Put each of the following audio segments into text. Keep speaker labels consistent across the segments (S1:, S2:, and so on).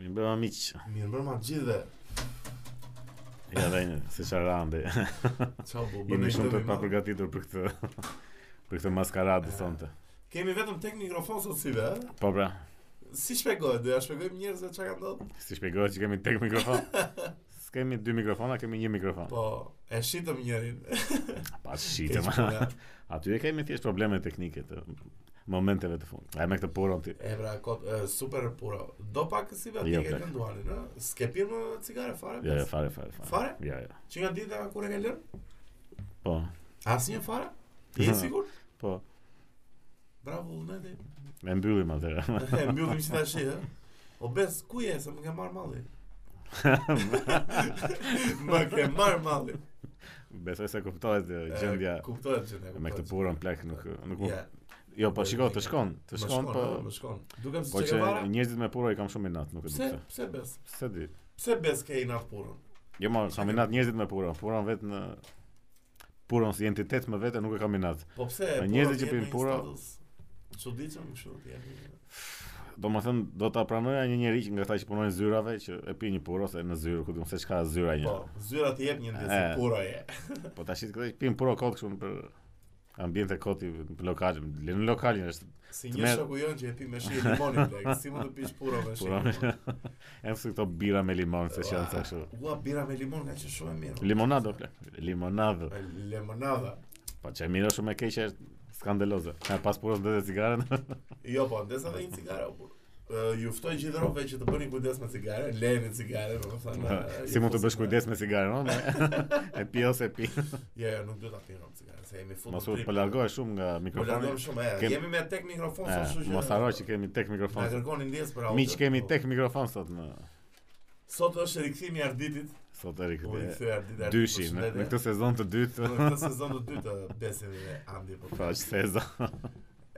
S1: miq.
S2: Mirë mbrëma të gjithëve.
S1: Ja vjen si çarandi.
S2: Çau bu.
S1: Jemi shumë të papërgatitur për këtë për këtë maskaradë sonte.
S2: Kemi vetëm tek mikrofon sot si ve.
S1: Po pra,
S2: Si shpjegohet? Do ja shpjegojmë njerëzve çka ka ndodhur?
S1: si shpjegohet që kemi tek mikrofon. S'kemi dy mikrofona, kemi një mikrofon.
S2: Po, e shitëm njërin.
S1: Pa shitëm.
S2: po,
S1: Aty e kemi thjesht probleme teknike të momenteve të fundit. Ai me këtë porën ti.
S2: e bra, kot, e, super pura. Do pak si ve
S1: Jo,
S2: ti ke
S1: plak.
S2: të nduani, ë? S'ke pirë më cigare fare?
S1: Ja, ja,
S2: pes?
S1: Jo, fare, fare, fare.
S2: Fare?
S1: Ja, ja.
S2: Që nga dita kur e ke lënë?
S1: Po,
S2: Asnjë fare? Je i sigurt?
S1: po.
S2: Bravo, Vullneti.
S1: E mbyllim atëherë.
S2: E mbyllim si tash, ë? O bes, ku je se më ke marr malli? më ke marr malli.
S1: Besoj se kuptohet e,
S2: E,
S1: gjendja
S2: Kuptohet gjendja.
S1: me këtë
S2: kuptohet.
S1: purën plak nuk nuk mu-
S2: Ja,
S1: Jo, po shiko, të shkon, të
S2: Më
S1: shkon, po
S2: Më shkon. Dukem se
S1: po që
S2: çka vara.
S1: njerëzit me purë i kam shumë inat, nuk e di
S2: Pse?
S1: pse.
S2: Pse bes?
S1: Se di.
S2: Pse bes ke inat purën?
S1: Jo, ma kam inat njerëzit me purën, purën vetë në purën si identitet me vete nuk e kam inat.
S2: Po pse?
S1: Po,
S2: pura
S1: njerëzit që
S2: t'jetë
S1: pinë
S2: në një
S1: pura-
S2: status Çuditshëm kështu ti.
S1: Do më thënë, do ta pranoja një njerëz që nga ata që punojnë zyrave që e pi një purë ose në zyrë, ku diun se çka zyra një.
S2: Po, zyra të jep një ndjesë
S1: E.
S2: pura je.
S1: Po tash këtë pin purë kot kështu për ambiente koti për lokal, le në lokalin është
S2: Si
S1: Të
S2: një
S1: merr-
S2: shoku jon që e pi me shi e limoni blek, si mund të pish pura me shi.
S1: pura.
S2: limoni?
S1: Janë si këto bira me limon se që janë sa kështu.
S2: Ua bira me limon ka që shumë e mirë.
S1: Limonado plak, limonado.
S2: E, Limonada.
S1: Po që e mirë është shumë e keqe është skandaloze. Ka pas purës dhe cigaren.
S2: Jo, po, ndesa dhe një cigare o burr. Ë, Ju ftoj gjithë rrobëve që të bëni kujdes me cigare, lejeni cigare, domethënë. e,
S1: si
S2: ju
S1: mund të
S2: fusni
S1: bësh
S2: me-
S1: kujdes me
S2: po,
S1: cigaren, no? e pi ose e pi.
S2: Jo, jo, nuk duhet ta pinë cigare, se jemi futur.
S1: Mos u po largohesh shumë nga
S2: Po
S1: mikrofoni.
S2: largojmë shumë. e,
S1: Kem-
S2: Jemi me tek mikrofon
S1: E,
S2: sot, kështu që.
S1: Mos haro që kemi tek
S2: Na
S1: mikrofon.
S2: kërkoni ndjes për audio.
S1: Miq kemi tek mikrofon sot në
S2: Sot është rikthimi i Arditit.
S1: sot e
S2: Po i po,
S1: rikëthe.
S2: kthy Ardit. Ardit,
S1: Dyshi në,
S2: përshëndetje.
S1: në këtë sezon të dytë.
S2: Në këtë sezon të dytë të Besit dhe Andi po.
S1: Po që sezon.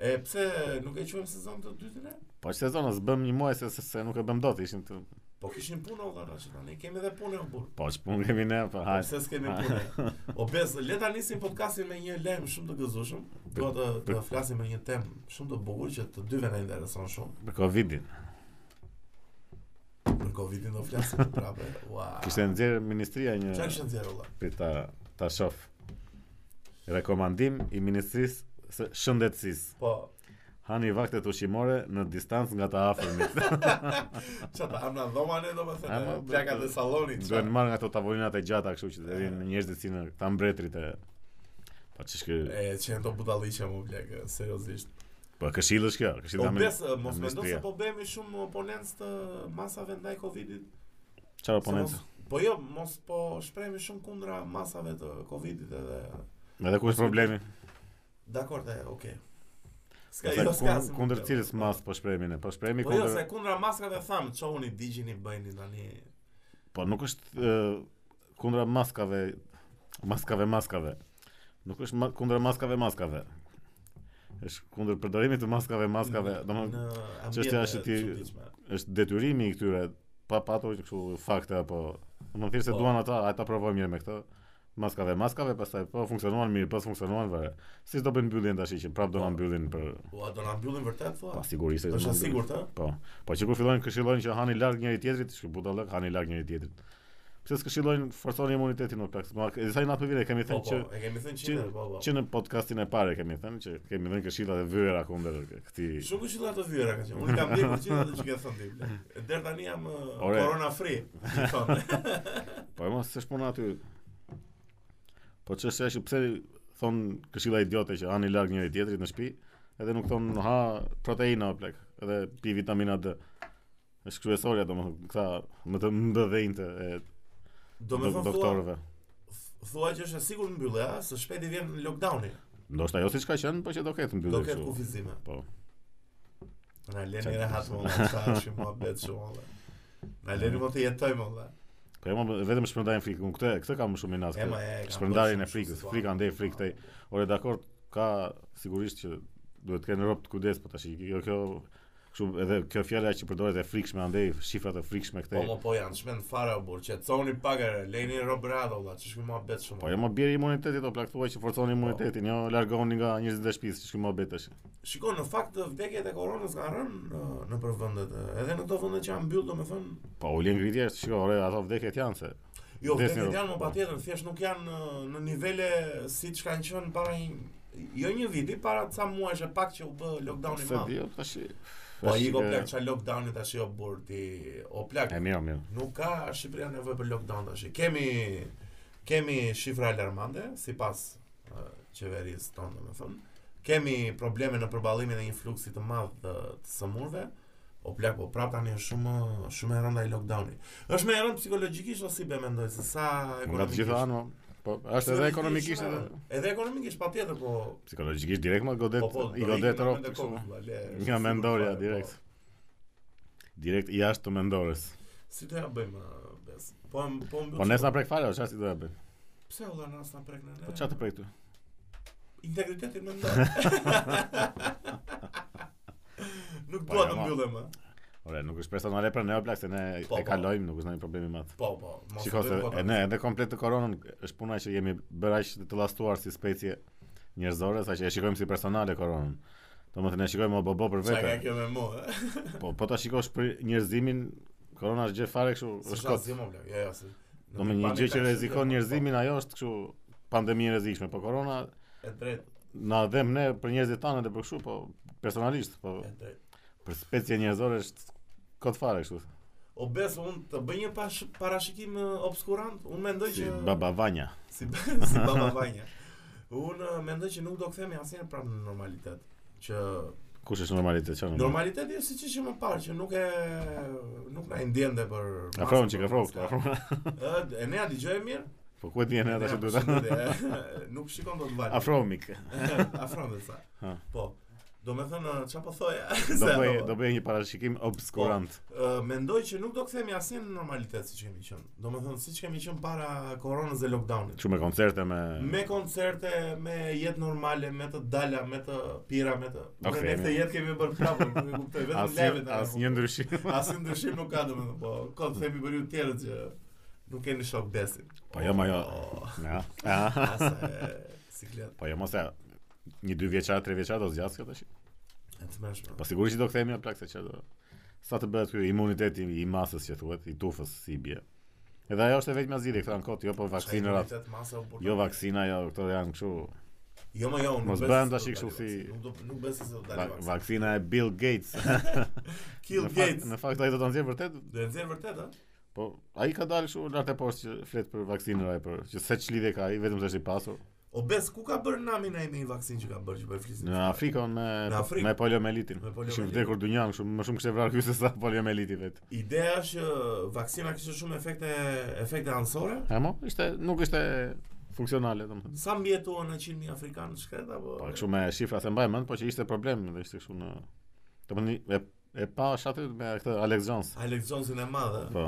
S2: E pse nuk e quajmë sezon të dytën? e?
S1: Po që sezon as bëm një muaj se se, se nuk e bëm dot, ishim të
S2: Po kishin punë olla tash tani. Kemi edhe punë në burr.
S1: po që punë kemi ne, po
S2: Po
S1: hajde.
S2: pse s'kemi punë? O Bes, le ta nisim podcastin me një lajm shumë të gëzueshëm. Dua të të flasim për një temë shumë të bukur që të dyve na intereson shumë.
S1: Për Covidin.
S2: Për Covidin do flasim prapë. Ua.
S1: Kishte nxjerr ministria një
S2: Çfarë kishin zero olla?
S1: për ta ta shoh. Rekomandim i Ministrisë së Shëndetësisë.
S2: Po,
S1: Hani vaktet ushqimore në distancë nga të afërmit.
S2: çata amna dhomane domethënë,
S1: Ama,
S2: plakat e sallonit.
S1: Duhen
S2: çfarë?
S1: marrë nga ato tavolinat e gjata, kështu që të vinë njerëzit si në këta mbretërit e Po ç'është ky?
S2: E, Eh, që janë të budalliqe më blek, seriosisht.
S1: Po këshill është kjo, këshill
S2: Po
S1: amin.
S2: bes, mos mendo se
S1: Ministria.
S2: po bëhemi shumë oponencë të masave ndaj Covidit.
S1: Çfarë
S2: se mos-
S1: oponencë?
S2: Po jo, mos po shprehemi shumë kundra masave të Covidit edhe.
S1: Edhe ku është problemi?
S2: Dakor, te, okay. Ska
S1: Ose
S2: jo ska.
S1: kun- Kundër cilës mas po shprehemi ne? Po shprehemi
S2: Po jo,
S1: kundër
S2: se kundra maskave tham, çohuni digjini bëjni tani.
S1: Po nuk është ë, kundra maskave, maskave, maskave. Nuk është ma, kundra maskave, maskave. Është kundër përdorimit të maskave, maskave. Domethënë çështja është ti- është detyrimi i këtyre pa patur kështu fakte apo domethënë thjesht se
S2: Po.
S1: duan ata, ata provojnë mirë me këtë. Maskave, maskave, pastaj po funksionuan mirë, po funksionuan vare. Si do bëjnë mbylljen tash që prap do na
S2: Po.
S1: mbyllin për
S2: Ua, do na mbyllin vërtet thua?
S1: pa sigurisë.
S2: Është e sigurt, ë?
S1: Po. Po që kur fillojnë këshillojnë që hani larg njëri tjetrit, shkë budallëk hani larg njëri tjetrit. Pse s'këshillojnë forconi imunitetin në plaks? Ma e sa i natë vjen kemi
S2: Po,
S1: thënë
S2: po,
S1: që
S2: e kemi thënë
S1: që-
S2: 100, po, po.
S1: që në podcastin e parë kemi thënë që kemi dhënë këshilla dhe vyra kundër këtij.
S2: Shumë këshilla të vyra ka qenë. Unë kam ndjekur gjithë atë që ke thënë ti. bla. Deri tani jam uh,
S1: Ore.
S2: corona free. i thonë.
S1: Po mos s'është puna aty. Po ç'është ajo pse thon këshilla idiote që hani larg njëri tjetrit në shtëpi, edhe nuk thon ha proteina o plak, edhe pi vitamina D. Është kryesorja domethënë këta më të mbëdhenjtë e
S2: Do me thënë thua,
S1: doktorëve.
S2: thua që është e sigur në mbyllë, a? Së shpejti vjen lockdowni.
S1: Ndoshta jo siç ka qenë, po që do ketë mbyllje
S2: Do ketë
S1: kështu.
S2: kufizime.
S1: Po.
S2: Na leni
S1: Çfarë
S2: rehat më Allah, qa është mua betë shumë Allah. Na leni më të jetoj më Allah.
S1: Po jam vetëm shpërndajin frikë. Unë këtë këtë kam më shumë inat.
S2: Ema e... kam
S1: Shpërndarjen
S2: bërë
S1: e
S2: shumë
S1: frikës,
S2: situatë.
S1: frika ndaj frikë tej. Ore dakor, ka sigurisht që duhet të kenë rob të kujdes, po tash kjo kjo Kështu edhe kjo fjala që përdoret e frikshme andej shifrat e frikshme
S2: Po
S1: këtej.
S2: mo po janë shmend fare o burr, qetësoni pak e lejni Robrado valla, që shkoj mohabet shumë.
S1: Po jo më bjerë imunitetit, o plak thuaj që forconi imunitetin, jo largohuni nga njerëzit e shtëpisë, që më betash.
S2: Shikon, në fakt vdekjet e koronës kanë rënë në, në për vendet, edhe në ato vende që janë mbyllë, domethënë,
S1: Po u lën ngritje, shiko, ore, ato vdekjet janë se.
S2: jo,
S1: Vdesin
S2: vdekjet
S1: në-
S2: janë më patjetër, thjesht nuk janë në, në nivele siç kanë qenë para një jo një viti, para ca muajsh e pak që u bë lockdowni
S1: Se
S2: i madh.
S1: di, o, tash.
S2: Po i go
S1: shike-
S2: plak çaj lockdowni tash o burr ti, o plak.
S1: E mirë, mirë.
S2: Nuk ka Shqipëria nevojë për lockdown tash. Kemi kemi shifra alarmante sipas uh, qeverisë tonë, domethënë. Kemi probleme në përballimin e një fluksi të madh të, të sëmurëve. O plak, po prap tani është shumë shumë e rënda i lockdowni. Është më e rëndë psikologjikisht ose si be mendoj se sa
S1: Nga të gjitha anë, po është edhe ekonomikisht edhe
S2: Edhe ekonomikisht patjetër, po
S1: psikologjikisht direkt më godet,
S2: po po.
S1: i
S2: do ikim
S1: godet
S2: nga
S1: rrobat.
S2: mende kokë,
S1: kështu.
S2: vale, është
S1: Nga
S2: sigur
S1: mendorja
S2: fare, po.
S1: direkt. Direkt i jashtë të mendores.
S2: Si do ja bëjmë uh, bes? Po m- po mbyll.
S1: Po nesër prek fare, o, çfarë si do ta bëj?
S2: pse valla na sa prek në.
S1: Po çfarë të prek ty?
S2: Integritetin më ndaj. Nuk
S1: Po,
S2: dua
S1: jo,
S2: të
S1: ma.
S2: mbyllem. ë.
S1: Ore, nuk është personale për ne o plak se ne
S2: Po,
S1: e
S2: po.
S1: kalojmë, nuk është ndonjë problem i madh.
S2: Po, po. mos
S1: Shiko
S2: e
S1: se
S2: bëjmë kota.
S1: e ne edhe komplet të koronën është puna që jemi bërë aq të llastuar si specie njerëzore sa që e shikojmë si personale koronën. Domethënë ne shikojmë o bobo për
S2: Qa ka
S1: vete.
S2: kjo me mua? eh? ë?
S1: Po po ta shikosh për njerëzimin, korona është gjë fare kështu
S2: Se
S1: është
S2: qa
S1: kot.
S2: zgjë më blek. Jo, jo, se.
S1: Do me një gjë që rrezikon
S2: po?
S1: njerëzimin, ajo është kështu pandemi e rrezikshme, po korona
S2: E drejt,
S1: na dhem ne për njerëzit tanë dhe për kështu, po personalisht, po
S2: e drejt.
S1: për specie njerëzore është kot fare kështu.
S2: O bes, unë të bëj një pash, parashikim ë, obskurant, unë mendoj
S1: Si
S2: që...
S1: baba vanja.
S2: Si, ba- si baba vanja. Unë ë, mendoj që nuk do këthemi asnjëherë prapë në normalitet. Që
S1: Kush është normaliteti çfarë?
S2: normaliteti është siç ishim më parë, që nuk e nuk na i ndjente për
S1: Afron çik, afron,
S2: maskën, për
S1: afron.
S2: maskën. Ë, E ne a dëgjoj mirë?
S1: Po ku e di ne ata që duhet.
S2: duhet. Nuk shikon dot valin.
S1: Afromik.
S2: Afron vetë sa.
S1: Ha.
S2: Po. Do me thënë, qa po thoja?
S1: Do
S2: Se
S1: bëj
S2: ato-
S1: do bëj një parashikim obskurant.
S2: Ë, Mendoj që nuk do këthemi asin në normalitet si që kemi qënë. Do me thënë, si që kemi qënë para koronës dhe lockdownit.
S1: Kështu me koncerte me
S2: Me koncerte, me jetë normale, me të dala, me të pira, me të...
S1: Do
S2: Ne
S1: kthehemi.
S2: këtë jetë kemi bërë prapë, nuk e kuptoj, vetëm
S1: asnjë
S2: leve të
S1: asnjë ndryshim.
S2: Asin ndryshim nuk ka do me thënë, po, këtë themi për ju tjerët që nuk keni shok besin.
S1: Po jo, ma jo.
S2: O,
S1: Ja. Ja.
S2: Asa e siklet,
S1: Po jo mos e një dy vjeçar, tre vjeçar do zgjas kjo tash.
S2: e të mërshme.
S1: Po sigurisht që do kthehemi në plak se çfarë do. Sa të bëhet ky imuniteti i masës që thuhet, i tufës si i bie. Edhe ajo është e vetmja zgjidhje këta në kot, jo po vaksinat.
S2: Imunitet masa u burton.
S1: Jo vaksina, jo këto janë kështu.
S2: Jo, më jo, unë
S1: Mos
S2: nuk
S1: bëhen
S2: besoj
S1: tash
S2: se do
S1: kështu
S2: dali
S1: si-
S2: vaksin. Nuk do- nuk besoj se do dali
S1: Va-
S2: vaksin.
S1: Vaksina e Bill Gates.
S2: Kill
S1: Në fakt-
S2: Gates.
S1: Në fakt ai do ta nxjerr vërtet,
S2: Do e nxjerr vërtet, ë?
S1: po ai ka dalë kështu lart e poshtë që flet për vaksinën ai për që se ç'lidhje ka ai, vetëm se është i pasur.
S2: O bes, ku ka bërë nami ai me një vaksin që ka bërë që po e flisim?
S1: Në Afrikën me
S2: Në Afrikë.
S1: me poliomelitin.
S2: Me poliomelitin.
S1: Kishin vdekur dynjan kështu, më shumë kishte vrarë ky se sa poliomeliti vet.
S2: Ideja është që vaksina kishte shumë efekte efekte anësore.
S1: E mo, ishte nuk ishte funksionale domethënë.
S2: Sa mbjetuan në 100.000 afrikanë shkret apo?
S1: Po kështu me shifra se mbaj mend, po që ishte problem dhe ishte kështu në domethënë e, e pa shatë me këtë Alex Jones,
S2: Alex Johnson e madhe.
S1: Po.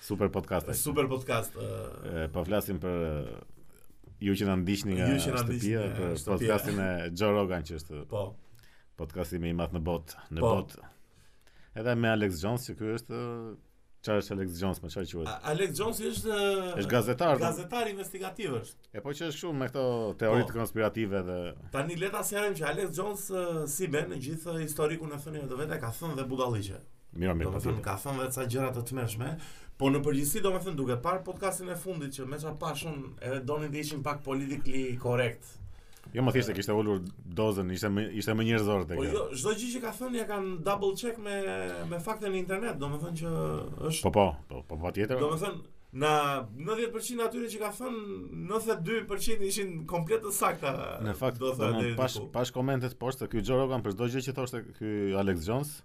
S1: super podcast. ai.
S2: Super podcast. ë.
S1: E, po flasim për e, ju që na ndiqni nga
S2: Ju që na ndiqni
S1: shtëpia
S2: nga
S1: për
S2: shtëpia.
S1: podcastin e Joe Rogan që është
S2: Po.
S1: podcasti më i madh në botë, në
S2: Po.
S1: botë. Edhe me Alex Jones që ky është e, çfarë është Alex Jones, më çfarë quhet?
S2: A- Alex Johnson është ë,
S1: Është gazetar. domethënë.
S2: gazetar investigativ është.
S1: E po që është shumë me këto teoritë
S2: Po.
S1: konspirative dhe
S2: Tani le ta sjellim që Alex Jones ë, si ben në gjithë historikun e thënë vetë vetë ka thënë dhe budalliqe.
S1: mira mirë
S2: Do
S1: po
S2: me thënë
S1: tjetër.
S2: ka thënë vetë sa gjëra të tmeshme, po në përgjithësi do me thënë duke parë podcastin e fundit që me qa pashën edhe donin të ishin pak politically correct.
S1: Jo më thjesht e kishte ulur dozën, ishte më ishte më njerëzor tek.
S2: Po
S1: kjo.
S2: jo, çdo gjë që ka thënë ja kanë double check me me fakte në internet, do me thënë që është
S1: Po po, po po patjetër.
S2: do me thënë Në 90% atyre që ka thënë, 92% ishin komplet të sakta.
S1: Në fakt do
S2: do
S1: të
S2: thënë deri
S1: pash
S2: diku.
S1: pash komentet poshtë se ky Joe Rogan për çdo gjë që thoshte ky Alex Jones,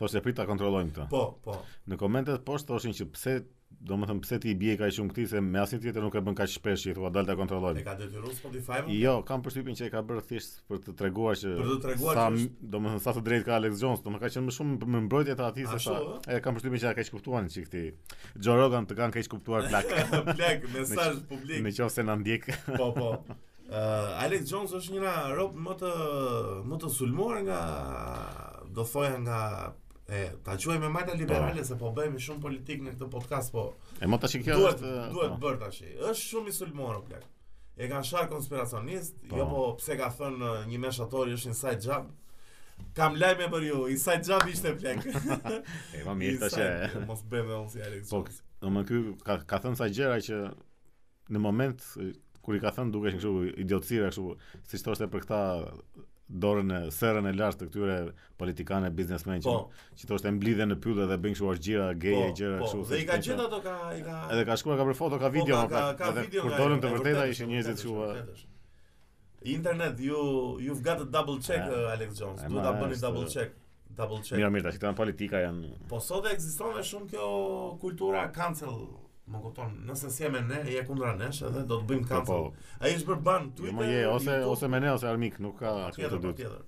S1: thoshte prit ta kontrollojmë këtë.
S2: Po, po.
S1: Në komentet poshtë thoshin që pse do më thënë pse ti i bie kaq shumë këtij se me asnjë tjetër nuk e bën kaq shpesh që i thua dal ta
S2: E
S1: kontrollojmë.
S2: ka detyruar Spotify-un.
S1: Jo, kam përshtypjen që e ka bërë thjesht për të treguar që
S2: Për të treguar
S1: sa
S2: që
S1: m-
S2: është-
S1: do më thënë sa të drejtë ka Alex Jones, do më ka qenë më shumë më mbrojtje të atij se
S2: Ashtu,
S1: sa. E kam përshtypjen që ja keq kuptuan që këti Joe Rogan të kanë keq kuptuar plak.
S2: Plek, mesazh publik.
S1: Në qoftë se na ndjek.
S2: Po, po. Ë, Alex Jones është njëra rob më të më të sulmuar nga do thoja nga e ta quajmë majta liberale se po bëhemi shumë politik në këtë podcast, po
S1: E mo tash i kjo
S2: duhet
S1: është e,
S2: duhet
S1: po.
S2: bër tash. Është shumë i sulmuar o plak. E kanë shar konspiracionist,
S1: Po.
S2: jo po pse ka thënë uh, një meshatori është inside job. Kam lajme për ju, inside job ishte plak.
S1: E ma Po, mirë tash. e.
S2: Inside- Mos bëjmë unë si Alex.
S1: Po, Do më ky ka ka thënë sa gjëra që në moment e, kur i ka thënë dukesh kështu idiotësira kështu, siç thoshte për këta dorën e serën e lartë të këtyre politikanë biznesmen që
S2: Po.
S1: që thoshte mblidhen në pyllë dhe bëjnë kështu argjira, geje, gjëra kështu.
S2: Dhe
S1: se
S2: i ka
S1: s'ken që-
S2: gjetë ato ka i ka
S1: Edhe ka shkuar ka për foto, ka video,
S2: po, ka, ka, ka
S1: edhe
S2: video.
S1: kur
S2: nga
S1: dolën
S2: ajo,
S1: të
S2: e
S1: vërteta
S2: vërtetë
S1: ishin
S2: është,
S1: njerëzit
S2: vërtetë
S1: kështu.
S2: është, vërtetë është. Internet, you you've got to double check
S1: E,
S2: uh, Alex Jones.
S1: e, ma,
S2: Duhet ta bëni
S1: është-
S2: double check. Double check.
S1: Mira, mira, tash këta janë politika janë.
S2: Po sot ekziston dhe shumë kjo kultura cancel, më kupton, nëse si me ne, je kundra nesh edhe do të
S1: Po,
S2: bëjmë
S1: po.
S2: cancel. Ai është bërë ban
S1: Jo,
S2: Twitter,
S1: më je ose
S2: YouTube,
S1: ose me ne ose armik, nuk ka asgjë të
S2: tjetër, po
S1: dytë.
S2: tjetër.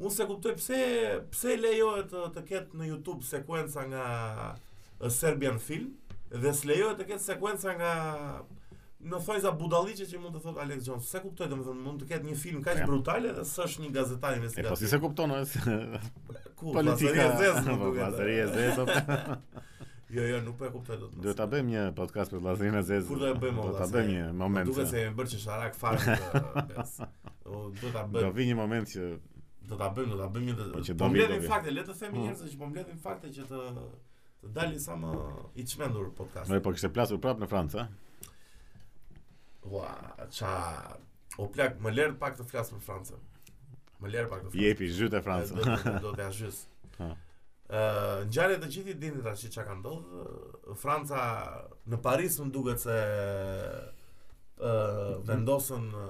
S2: Unë se kuptoj pse pse lejohet të, të ketë në YouTube sekuenca nga eh, Serbian film dhe s'lejohet të ketë sekuenca nga në thonjza budalliqe që mund të thotë Alex Jones. Se kuptoj domethënë mund të ketë një film kaq
S1: Po, Ja.
S2: brutal edhe s'është një gazetar
S1: E po si
S2: investigativ.
S1: se kupton, ose politika.
S2: Ku politika Po, e zezë, më
S1: Po,
S2: duket.
S1: Vllazëri e zezë. po.
S2: Jo, jo, nuk po e kuptoj dot.
S1: Duhet ta bëjmë një podcast për vllazërinë e zezë.
S2: Kur do e bëjmë,
S1: Do ta
S2: vlla, se-
S1: bëjmë një moment.
S2: Duket
S1: se-
S2: se e bërë që sharak fare të bes. O, do ta
S1: Do
S2: bëjmë,
S1: vi një moment që
S2: do ta bëjmë, do ta bëjmë një
S1: Po që
S2: të...
S1: do
S2: Po
S1: vi, do
S2: mbledhim
S1: vi.
S2: fakte, le të themi
S1: Mm.
S2: njerëzve që po mbledhim fakte që të të dalin sa më i çmendur podcast.
S1: Noi po kishte plasur prapë në Francë, a?
S2: Ua, ça o plak, më lër pak të flas për Francën. Më lër pak të flas.
S1: Jepi zhyt e Francës.
S2: Do të- do të azhys.
S1: Ha.
S2: Ë, ngjarje të gjithë i dini tash çka ka ndodhur. Ë, Franca në Paris më duket se ë vendosën ë,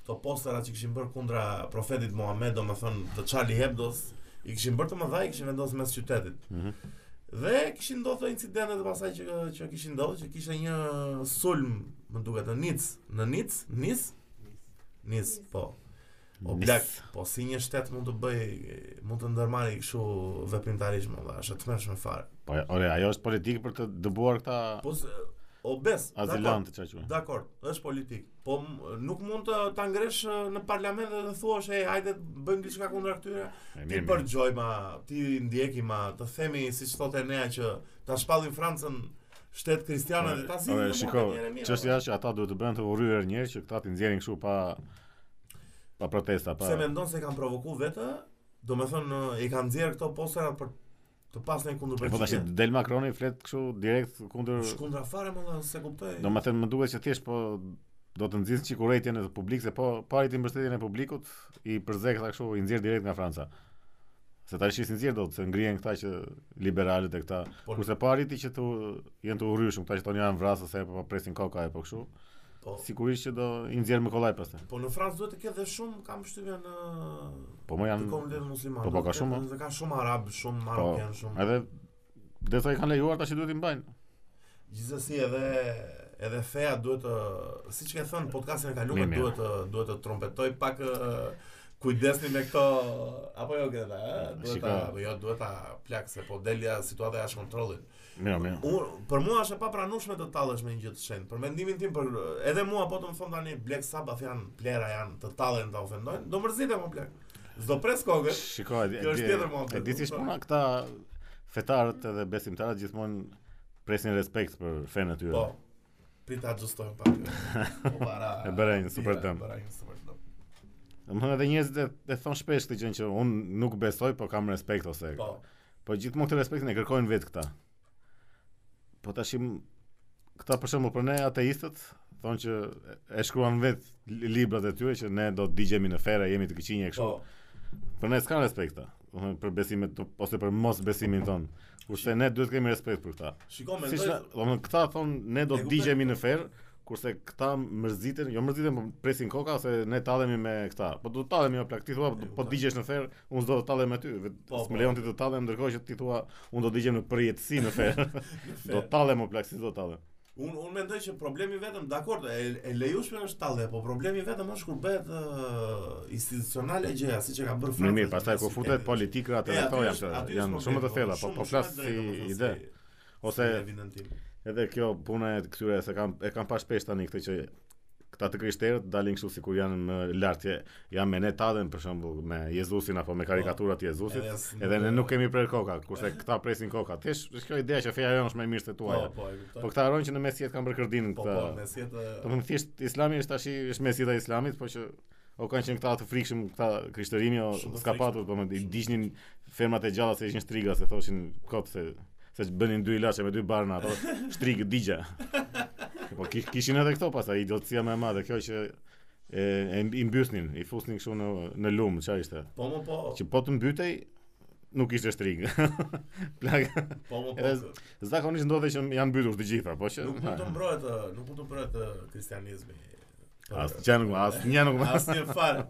S2: këto postera që kishin bërë kundra profetit Muhammed, domethënë të Charlie Hebdos, i kishin bërë të mëdha, i kishin vendosur mes qytetit.
S1: Mhm.
S2: Dhe kishin ndodhur incidente të pasaj që që kishin ndodhur, që kishte një sulm, më duket në Nic, në Nic, Nis, Nis, po. O
S1: Nis.
S2: blak, po si një shtet mund të bëj, mund të ndërmarrë kështu veprimtarisht, më valla, është e tmerrshme fare.
S1: Po, ore, ajo është politikë për të dëbuar këta
S2: Po s- o bes, dakor,
S1: azilantë çka quhen.
S2: dakor, është politik. Po m- nuk mund të ta ngresh eh, në parlament dhe të thuash, "Ej, hajde të bëjmë diçka kundra këtyre."
S1: E,
S2: Ti
S1: mirë, mirë.
S2: përgjoj ma, ti ndjeki ma, të themi si që thotë Enea që ta shpallin Francën shtetë kristianë dhe ta zini
S1: Ore,
S2: në
S1: shiko,
S2: mokat njëre mirë.
S1: çështja është që ata duhet të bëhen të urryer një herë që këta të nxjerrin kështu pa pa protesta, pa.
S2: Se me ndonë se kanë provoku vetë, do me thënë, i kanë dzirë këto posterat për të pas në kundur
S1: E po tash
S2: përgjitje.
S1: del Macroni flet kështu direkt kundër
S2: Shkundra fare më dhe se kuptoj.
S1: Do më thënë më duket që thjesht po do të nxjerrin çikurrëtin e publik se po parit i mbështetjen e publikut i përzek ta kështu i nxjerr direkt nga Franca. Se tash ishin nxjerr do të se ngrihen këta që liberalët e këta.
S2: Po-
S1: Kurse pariti që tu janë të urryshëm këta që tonë janë vrasë se po presin koka e po kështu.
S2: po,
S1: Sigurisht që do i nxjerr me kollaj pastaj.
S2: po në Francë duhet të ketë dhe shumë, kam shtyve në
S1: Po më
S2: të
S1: janë
S2: komunitetet muslimane.
S1: po, po, ka
S2: Duhet të
S1: shumë, Po.
S2: ketë- Dhe ka shumë arab, shumë marokian, shumë.
S1: edhe dhe sa i kanë lejuar tash i duhet i mbajnë.
S2: Gjithsesi edhe edhe feja duhet të siç ke thënë podcastin e kaluar
S1: Mirë, mirë.
S2: duhet të duhet të trompetoj pak ë, kujdesni me këto apo jo Greta, ë? duhet ta
S1: Shiko.
S2: apo jo duhet ta plak se po delja situata jashtë kontrollit.
S1: Mirë, mirë.
S2: Unë për mua është e papranueshme të tallesh me një gjë të shenjtë. Për mendimin tim për edhe mua po të më thon tani Black Sabbath janë plera janë të tallen ta ofendojnë, do mërzitem më plak. S'do pres kokën.
S1: Shiko, e di.
S2: Kjo është
S1: e di-
S2: tjetër po mohabet,
S1: E di si
S2: kupton?
S1: shpuna këta fetarët edhe besimtarët gjithmonë presin respekt për fenë e tyre.
S2: Po. Prit ta ajustojmë pak. Po para.
S1: E bëra një super
S2: Tira,
S1: dëm.
S2: bëra një super dëm.
S1: Domethënë edhe njerëzit e, e thon shpesh këtë gjën që un nuk besoj, po kam respekt ose.
S2: Po.
S1: Po gjithmonë këtë respektin e kërkojnë vetë këta. Po tash im- këta për shembull për ne ateistët thonë që e- e shkruan vetë li- librat e tyre që ne do të digjemi në fere, jemi të këqinj e kështu.
S2: Po.
S1: Për ne s'kan respekt këta. Domethënë për besimet to- ose për mos besimin ton. Kurse ne duhet të kemi respekt për këta.
S2: Shiko,
S1: Si
S2: Po, mendoj,
S1: shna, do më këta thonë ne do
S2: E
S1: të
S2: kuptoj.
S1: digjemi në ferë, kurse këta mërziten, jo mërziten, po presin koka se ne tallemi me këta. Po do të tallemi jo plak, ti thua
S2: E
S1: po
S2: kuptoj.
S1: digjesh në ferë, unë s'do të tallem me ty. vet-
S2: Po, po.
S1: S'më lejon ti të tallem ndërkohë që ti thua unë do të digjem në përjetësi në ferë. do të tallem o plak, si do të tallem.
S2: unë un mendoj që problemi vetëm, dakor, e, e lejushme është tallë, po problemi vetëm është kur bëhet ë, institucionale gjëja, siç e ka bërë
S1: Mirë,
S2: Franca.
S1: mirë, pastaj
S2: me
S1: kur futet
S2: sitetin.
S1: politika atë
S2: E, aty
S1: ato janë
S2: është- aty
S1: të-
S2: është
S1: janë
S2: problemi,
S1: shumë të
S2: po,
S1: thella, po
S2: shumë-
S1: po
S2: shumë
S1: flas
S2: e drejtë,
S1: si
S2: domethënë, se-
S1: ide.
S2: se
S1: Ose
S2: evidentim.
S1: Edhe kjo puna e këtyre se kam e kam pa shpesh tani këtë që këta të krishterët dalin kështu sikur janë më lart. Je- Janë me netadën për shembull me Jezusin apo me karikaturat e Jezusit.
S2: Edhe as-
S1: Edhe ne nuk kemi prer koka, kurse këta presin koka. Tesh është kjo ideja që feja jonë është më e mirë se
S2: Po,
S1: tuaja.
S2: po, e kuptoj.
S1: Po këta harrojnë që në mesjet kanë bërë kërdin
S2: Po, po,
S1: këta.
S2: me si jetë
S1: Do të thonë thjesht Islami është tash është mesjeta e Islamit, po që o kanë qenë këta të frikshëm këta krishterimi o
S2: Shumë të
S1: s'ka patur, po më i diqnin fermat e gjalla se ishin striga se thoshin kot se se të bënin dy ilaçe me dy barna ato shtrik digja. Po ki- kishin edhe këto pastaj idiotësia më e madhe, kjo që e, e i mbysnin, i fusnin kështu në në lum, çfarë ishte?
S2: Po, më po,
S1: Që po të mbytej nuk ishte shtrig. Plak.
S2: po, më po.
S1: Edhe zakonisht ndodhe që janë mbytur të gjitha, po që
S2: Nuk mund të mbrohet, ë, nuk mund të mbrohet ë, kristianizmi.
S1: As gjë nuk, as një nuk.
S2: Asnjë fare.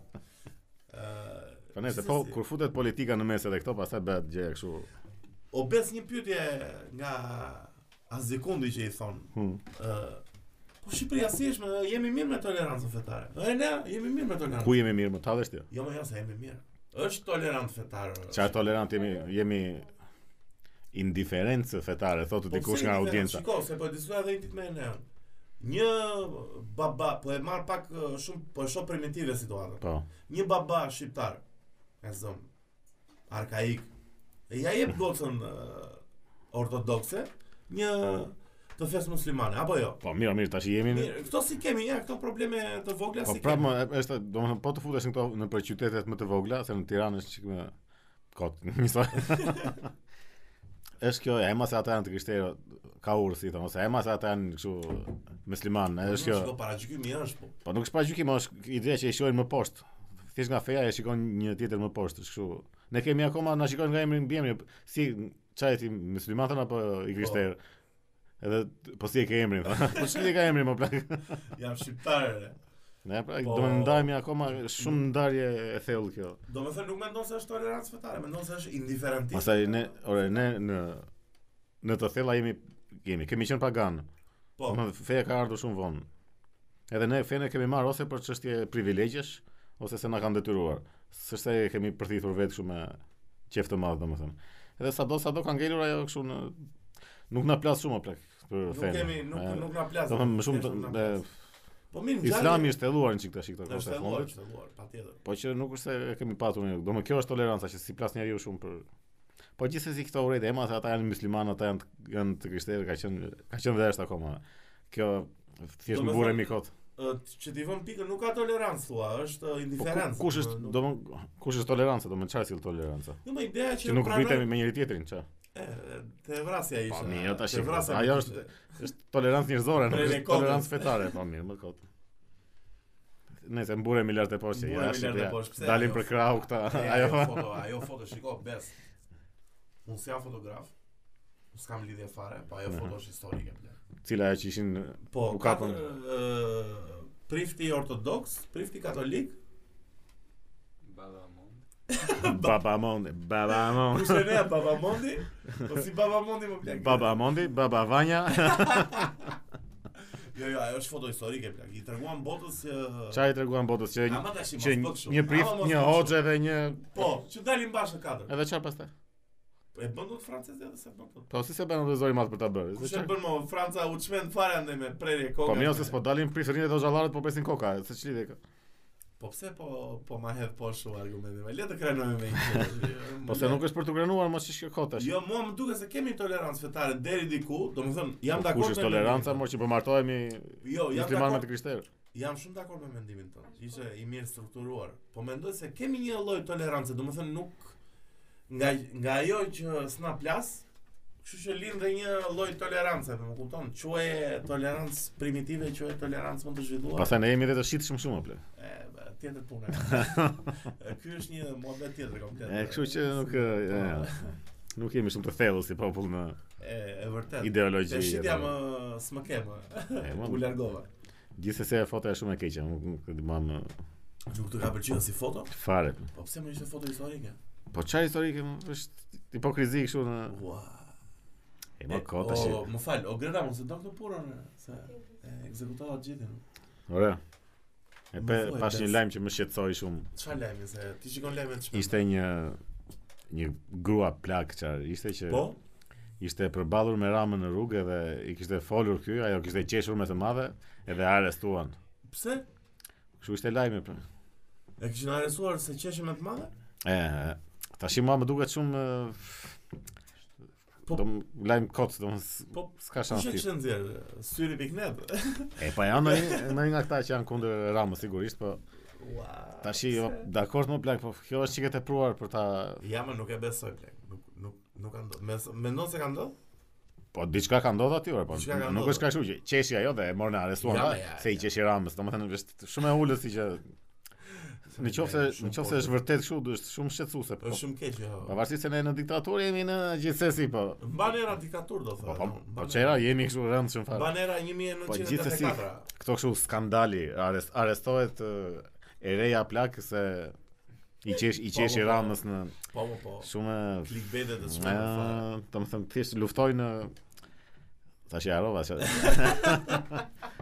S2: Ë,
S1: Po nëse
S2: si-
S1: po
S2: si-
S1: kur futet politika në mes edhe këto, pastaj bëhet gjë kështu.
S2: O bes një pyetje nga Azikundi që i thon.
S1: Hmm.
S2: Ë, po Shqipëria si është, më, jemi mirë me tolerancën fetare. E ne jemi mirë me tolerancën.
S1: Ku jemi mirë, më tallesh ti?
S2: Jo, më jo se jemi mirë. Është tolerancë fetare.
S1: Çfarë tolerant jemi, jemi indiferencë fetare, thotë
S2: Po
S1: dikush
S2: pse
S1: nga
S2: jemi fe-
S1: audienca.
S2: Shiko, se po e diskutoj edhe një ditë me ne. Një baba, po e marr pak ë, shumë, po e shoh primitive situatën.
S1: Po.
S2: një baba shqiptar e zëm arkaik e ja jep gocën ë, ortodokse një të fesë muslimane apo jo
S1: Po mirë, mirë, tash jemi në-
S2: Mirë, këto si kemi ja këto probleme të vogla
S1: Po
S2: si
S1: prapë
S2: kemi
S1: më, është, domethënë po të futesh në këto në për qytetet më të vogla, se në Tiranë është çik më kot, njësoj. është kjo ema se ata janë të krishterë ka urë si thonë, ose ema se ata janë kështu musliman,
S2: Nuk,
S1: është kjo.
S2: Po, shiko paragjykimi është po
S1: Po nuk është pa gjykim, është ideja që e shohin më poshtë. Thjesht nga feja e shikon një tjetër më poshtë, është kështu. Ne kemi akoma na shikojnë nga emri mbi emri, si çaj ti musliman thon apo i krishterë. Edhe t- po si e ke emrin? tha. Po si e ka emrin më plak?
S2: jam shqiptar e.
S1: Ne pra
S2: Po-
S1: do të ndajmë akoma shumë ndarje e thellë kjo.
S2: do me thënë nuk mendon se është tolerancë fetare mendon se është indiferentisht
S1: Pastaj ne, ore ne në në të thella jemi jemi, kemi qenë pagan.
S2: po
S1: Më feja ka ardhur shumë vonë. Edhe ne fenë e kemi marrë ose për çështje privilegjesh, ose se na kanë detyruar. S'është se e kemi përthithur vetë kështu me qef të madh, domethënë. Edhe sado sado ka ngelur ajo kështu në nuk na plas shumë o plak për
S2: nuk
S1: fenë.
S2: kemi nuk nuk na plas
S1: Domethënë më shumë
S2: thjesht
S1: të,
S2: nuk na
S1: e,
S2: plas. po mirë ngjarje-
S1: Islami është thelluar në çik tash këto kohë
S2: është e
S1: të
S2: lluar
S1: fundit.
S2: është e lluar patjetër
S1: Po që nuk është se e kemi patur ne. Domë kjo është toleranca që si plas njeriu shumë për Po gjithsesi këto urrejtë, ema se ata janë muslimanë, ata janë të- janë të krishterë, ka qenë ka qenë vështirë akoma. Kjo thjesht më burë
S2: Domethënë,
S1: mi kot.
S2: Ë, që t'i vëm pikën nuk ka tolerancë thua është ë,
S1: Po, ku-
S2: indiferencë
S1: Kush është,
S2: Nuk-
S1: domthon, kush është toleranca, domthon çfarë sill toleranca?
S2: Jo, më ideja që,
S1: Që nuk
S2: pranoj-
S1: pritemi me njëri tjetrin, ç'a?
S2: E, Te vrasja ishte.
S1: mirë, jo, tash
S2: te
S1: e-
S2: vrasja
S1: ajo
S2: nuk
S1: është- Është tolerancë njerëzore, nuk
S2: Prej
S1: është
S2: rekordit.
S1: tolerancë fetare, po mirë, më kot. Nëse mburemi lart e poshtë,
S2: Mburemi
S1: ja,
S2: lart e
S1: shqipja,
S2: poshtë, pse
S1: dalim
S2: ajo?
S1: për krahu këta,
S2: E, po.
S1: ajo.
S2: ajo foto, ajo foto shiko bes. Unë s'jam fotograf. Unë s'kam lidhje fare, po ajo
S1: Mhm.
S2: foto është historike ble.
S1: Cila ajo që ishin
S2: Po,
S1: U
S2: katër
S1: kapën.
S2: ë, prifti ortodoks, prifti katolik,
S3: Badamon.
S1: Baba Mondi, Baba Mondi.
S2: kush e nea Baba Mondi? Po si Baba Mondi më plak.
S1: Baba Mondi, Baba Vanja.
S2: Jo, jo, ajo është foto historike plak. I treguam botës që
S1: Çfarë i treguan botës që
S2: Ama tash mos
S1: që
S2: bë kështu.
S1: një
S2: Ama
S1: prift,
S2: mos
S1: një
S2: bë kështu.
S1: hoxhe dhe një
S2: Po, që dalim bashkë katër.
S1: edhe çfarë pastaj?
S2: E bën dot francezë edhe se bën dot.
S1: Po si se bën edhe zori madh për ta bërë? Se
S2: Kush e
S1: çfarë-
S2: bën më Franca u çmend fare andaj me prerje kokë.
S1: Po mirë ose s'po dalin prifërinë e xhallarët po presin koka, se çlidhe kjo.
S2: Po pse po po ma hedh po shu argumente. Me le të krenojmë me një tjetër.
S1: Po se nuk është për të krenuar mos që shkjo tash.
S2: Jo, mua më duket se kemi tolerancë fetare deri diku, domethënë jam
S1: Po
S2: dakord
S1: Kush
S2: me
S1: është toleranca
S2: mendimin
S1: mor që po martohemi
S2: tënd. Jo, jam
S1: musliman me
S2: dakord.
S1: të krishterë.
S2: Jam shumë dakord me mendimin tënd. Ishte i mirë strukturuar. Po mendoj se kemi një lloj tolerancë, domethënë nuk nga nga ajo që s'na plas, kështu që lind dhe një lloj tolerance, më kupton? Quhet tolerancë primitive, quhet tolerancë më të zhvilluar.
S1: Pastaj ne jemi edhe të shitshëm shumë apo.
S2: E, bë, tjetër punë. E, Ky është një mohabet tjetër komplet.
S1: E, kështu që nuk e, e, nuk jemi shumë të thellë si popull në
S2: E, e vërtet.
S1: ideologji.
S2: Te shitja
S1: edhe-
S2: më s'më ke më.
S1: E, mo,
S2: U largova.
S1: Gjithsesi e foto është shumë e keqe, nuk nuk e di mam e,
S2: Nuk të ka pëlqyer si foto?
S1: fare.
S2: Po pse më ishte foto historike?
S1: Po çfarë historike mo, është hipokrizi kështu në
S2: Ua.
S1: e më kot tash.
S2: O, më fal, o Greta mos e do këtë punën se e ekzekutova të gjithën.
S1: Ore. E
S2: Më
S1: pe
S2: thuaj,
S1: pash një
S2: Bes.
S1: lajm që më shqetësoi shumë.
S2: Çfarë lajmi se ti shikon lajmet çfarë?
S1: Ishte një një grua plak çfarë, ishte që
S2: Po?
S1: ishte përballur me ramën në rrugë dhe i kishte folur ky, ajo kishte qeshur me të madhe edhe arrestuan.
S2: Pse?
S1: Kështu ishte lajmi pra.
S2: E kishin arrestuar se qeshje më të madhe?
S1: E, tash i mua më duket shumë po,
S2: Po-
S1: dom lajm kot, dom
S2: Po,
S1: s'ka shans
S2: Kush e
S1: ti.
S2: kishte nxjerr? Syri piknet.
S1: E pa janë ndonjë ndonjë nga këta që janë kundër Ramës sigurisht, po
S2: Ua.
S1: tash jo, dakord më plak, po kjo është çike tepruar për ta
S2: Ja, më nuk e besoj plek. Nuk nuk nuk ka ndodhur. Mes- Mendon se ka ndodhur?
S1: Po diçka ka ndodhur aty, ore, po
S2: Diçka ka
S1: nuk
S2: ndodhur.
S1: është ka kështu që qeshi ajo dhe e morën e arrestuan
S2: Ja,
S1: ja,
S2: me, ja,
S1: se i
S2: ja.
S1: qeshi Ramës, domethënë është shumë e ulët si që në qoftë se në qoftë se është vërtet kështu, do është shumë shqetësuese. Po,
S2: Është shumë keq jo.
S1: pavarësisht se ne në diktaturë jemi në gjithsesi, po.
S2: Mban era diktatur do
S1: Po,
S2: thonë.
S1: po,
S2: Mban
S1: po
S2: era-
S1: çera jemi kështu rëndë shumë fare.
S2: Mban era
S1: Po, gjithsesi.
S2: 1984.
S1: Këto kështu skandali, arrest, arrestohet ë, e reja plak se i qesh i
S2: Po,
S1: qeshi
S2: po, po.
S1: Ramës në
S2: Po, po, po.
S1: shumë
S2: Clickbait të
S1: ë,
S2: çmendur fare.
S1: domethënë thjesht luftojnë tash e harova se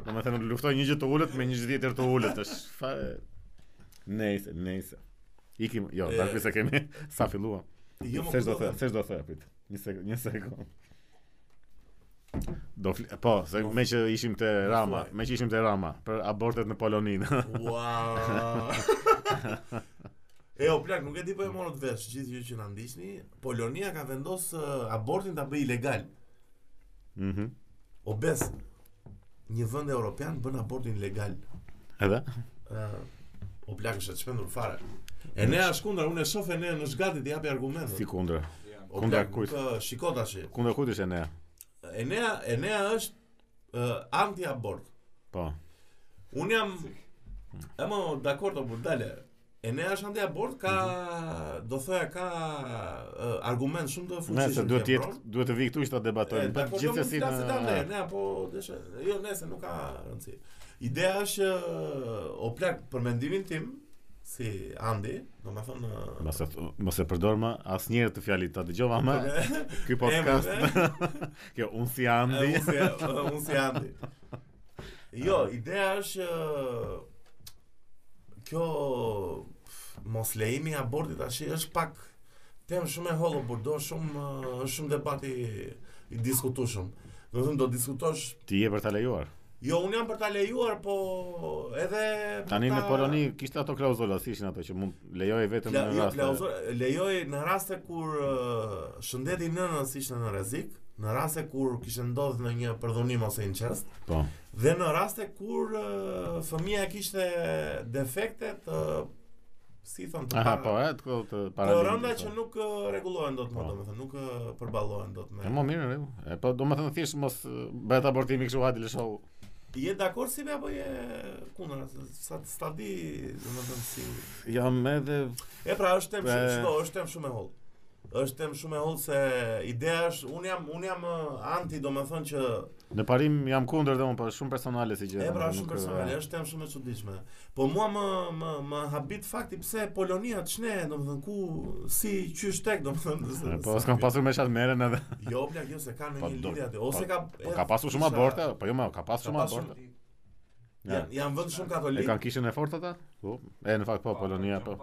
S1: domethënë luftojnë një gjë të ulët me një gjë tjetër të ulët, është fare nejse, nejse. Ikim, jo,
S2: E-
S1: tash se kemi sa filluam.
S2: Jo, më
S1: Sesh do
S2: kuptova.
S1: thë, sesh do thë, prit. Një sekond, një sekond. Do fli, po, se me që ishim te Rama,
S2: thuaj.
S1: me që ishim te Rama për abortet në Poloninë.
S2: Ua. E o plak, nuk e di po e morët vesh gjithë ju që na ndiqni. Polonia ka vendosë ë, abortin ta bëj ilegal.
S1: Mhm.
S2: O bes. Një vend evropian bën abortin legal.
S1: Edhe?
S2: Ë, o plak është e çmendur fare. E ne as kundra, unë e shoh e ne në zgati të japi argumente.
S1: Si kundër.
S2: o
S1: kundra
S2: plak,
S1: kujt?
S2: nuk, ë, Shiko tash.
S1: Kundër kujt ishte ne?
S2: Enea, Enea është ë, anti-abort.
S1: Po.
S2: Unë jam E më dakord të burdale E ne është anti abort ka Do thëja ka ë, Argument shumë
S1: Mhm.
S2: të
S1: Nëse
S2: fuqishëm
S1: duhet të
S2: që e
S1: jetë, duhet të vi këtu që ta debatojmë. Po
S2: dakord të
S1: gjithsesi
S2: mund të flasë tante
S1: në
S2: Ne apo deshe Jo nese nuk ka rëndësi Ideja është ë, O plak për mendimin tim Si Andi Do me thënë ë,
S1: Mos e mos e përdor më asnjëherë të fjalit, ta dëgjova më. Ky podcast,
S2: emrin, e?
S1: kjo un si Andi.
S2: E, Unë si, e, unë si Andi. Jo, ideja është që kjo mos lejimi i abortit tash është pak temë shumë e hollë burdo, shumë ë, është shumë debati i diskutueshëm. Do të thënë do diskutosh
S1: Ti je për ta lejuar.
S2: Jo, unë jam për ta lejuar, po edhe për
S1: Tani në
S2: ta-
S1: Poloni kishte ato klauzula, si ishin ato që mund lejoje vetëm
S2: Kla,
S1: në
S2: jo,
S1: raste.
S2: klauzur, lejoj në raste kur ë, shëndeti i nënës ishte në rrezik, në raste kur kishte ndodhur ndonjë përdhunim ose incest,
S1: Po.
S2: Dhe në raste kur ë, fëmia kishte defekte të si thon të
S1: Aha,
S2: para-
S1: po, e, të këto të
S2: të
S1: paralimin,
S2: rënda
S1: po.
S2: që nuk ë, rregullohen dot më,
S1: Po.
S2: domethënë nuk ë, përballohen dot
S1: E më
S2: më.
S1: mirë, në rregull. E po do më thënë thjesht mos e, bëhet abortimi kështu hajde lëshohu.
S2: Je dakord si be apo je kundër? Se- Sa sa di, domethënë si.
S1: Jam edhe
S2: E pra është temë
S1: E.
S2: shumë, shiko, është temë shumë e hollë. Është temë shumë e hollë se ideja është un jam un jam ë, anti domethënë që
S1: në parim jam kundër dhe unë, po është shumë personale si gjë.
S2: E pra
S1: nuk-
S2: shumë personale, është temë shumë e çuditshme. Po mua më më më habit fakti pse Polonia ç'ne, domethënë ku si qysh tek domethënë.
S1: E,
S2: se-
S1: Po
S2: se-
S1: s'kam pasur me çat merren edhe.
S2: Jo, bla, jo se kanë
S1: Po,
S2: një
S1: do-
S2: lidhje aty. Ose
S1: po-
S2: ka
S1: Po
S2: e-
S1: ka pasur shumë
S2: isha-
S1: aborte, po jo më, ka pasur
S2: Ka
S1: shumë
S2: pasur-
S1: aborte. Ja.
S2: Janë janë vend shumë
S1: E
S2: katolik.
S1: kanë kishën e fortë ata? Po. E në fakt po Polonia po.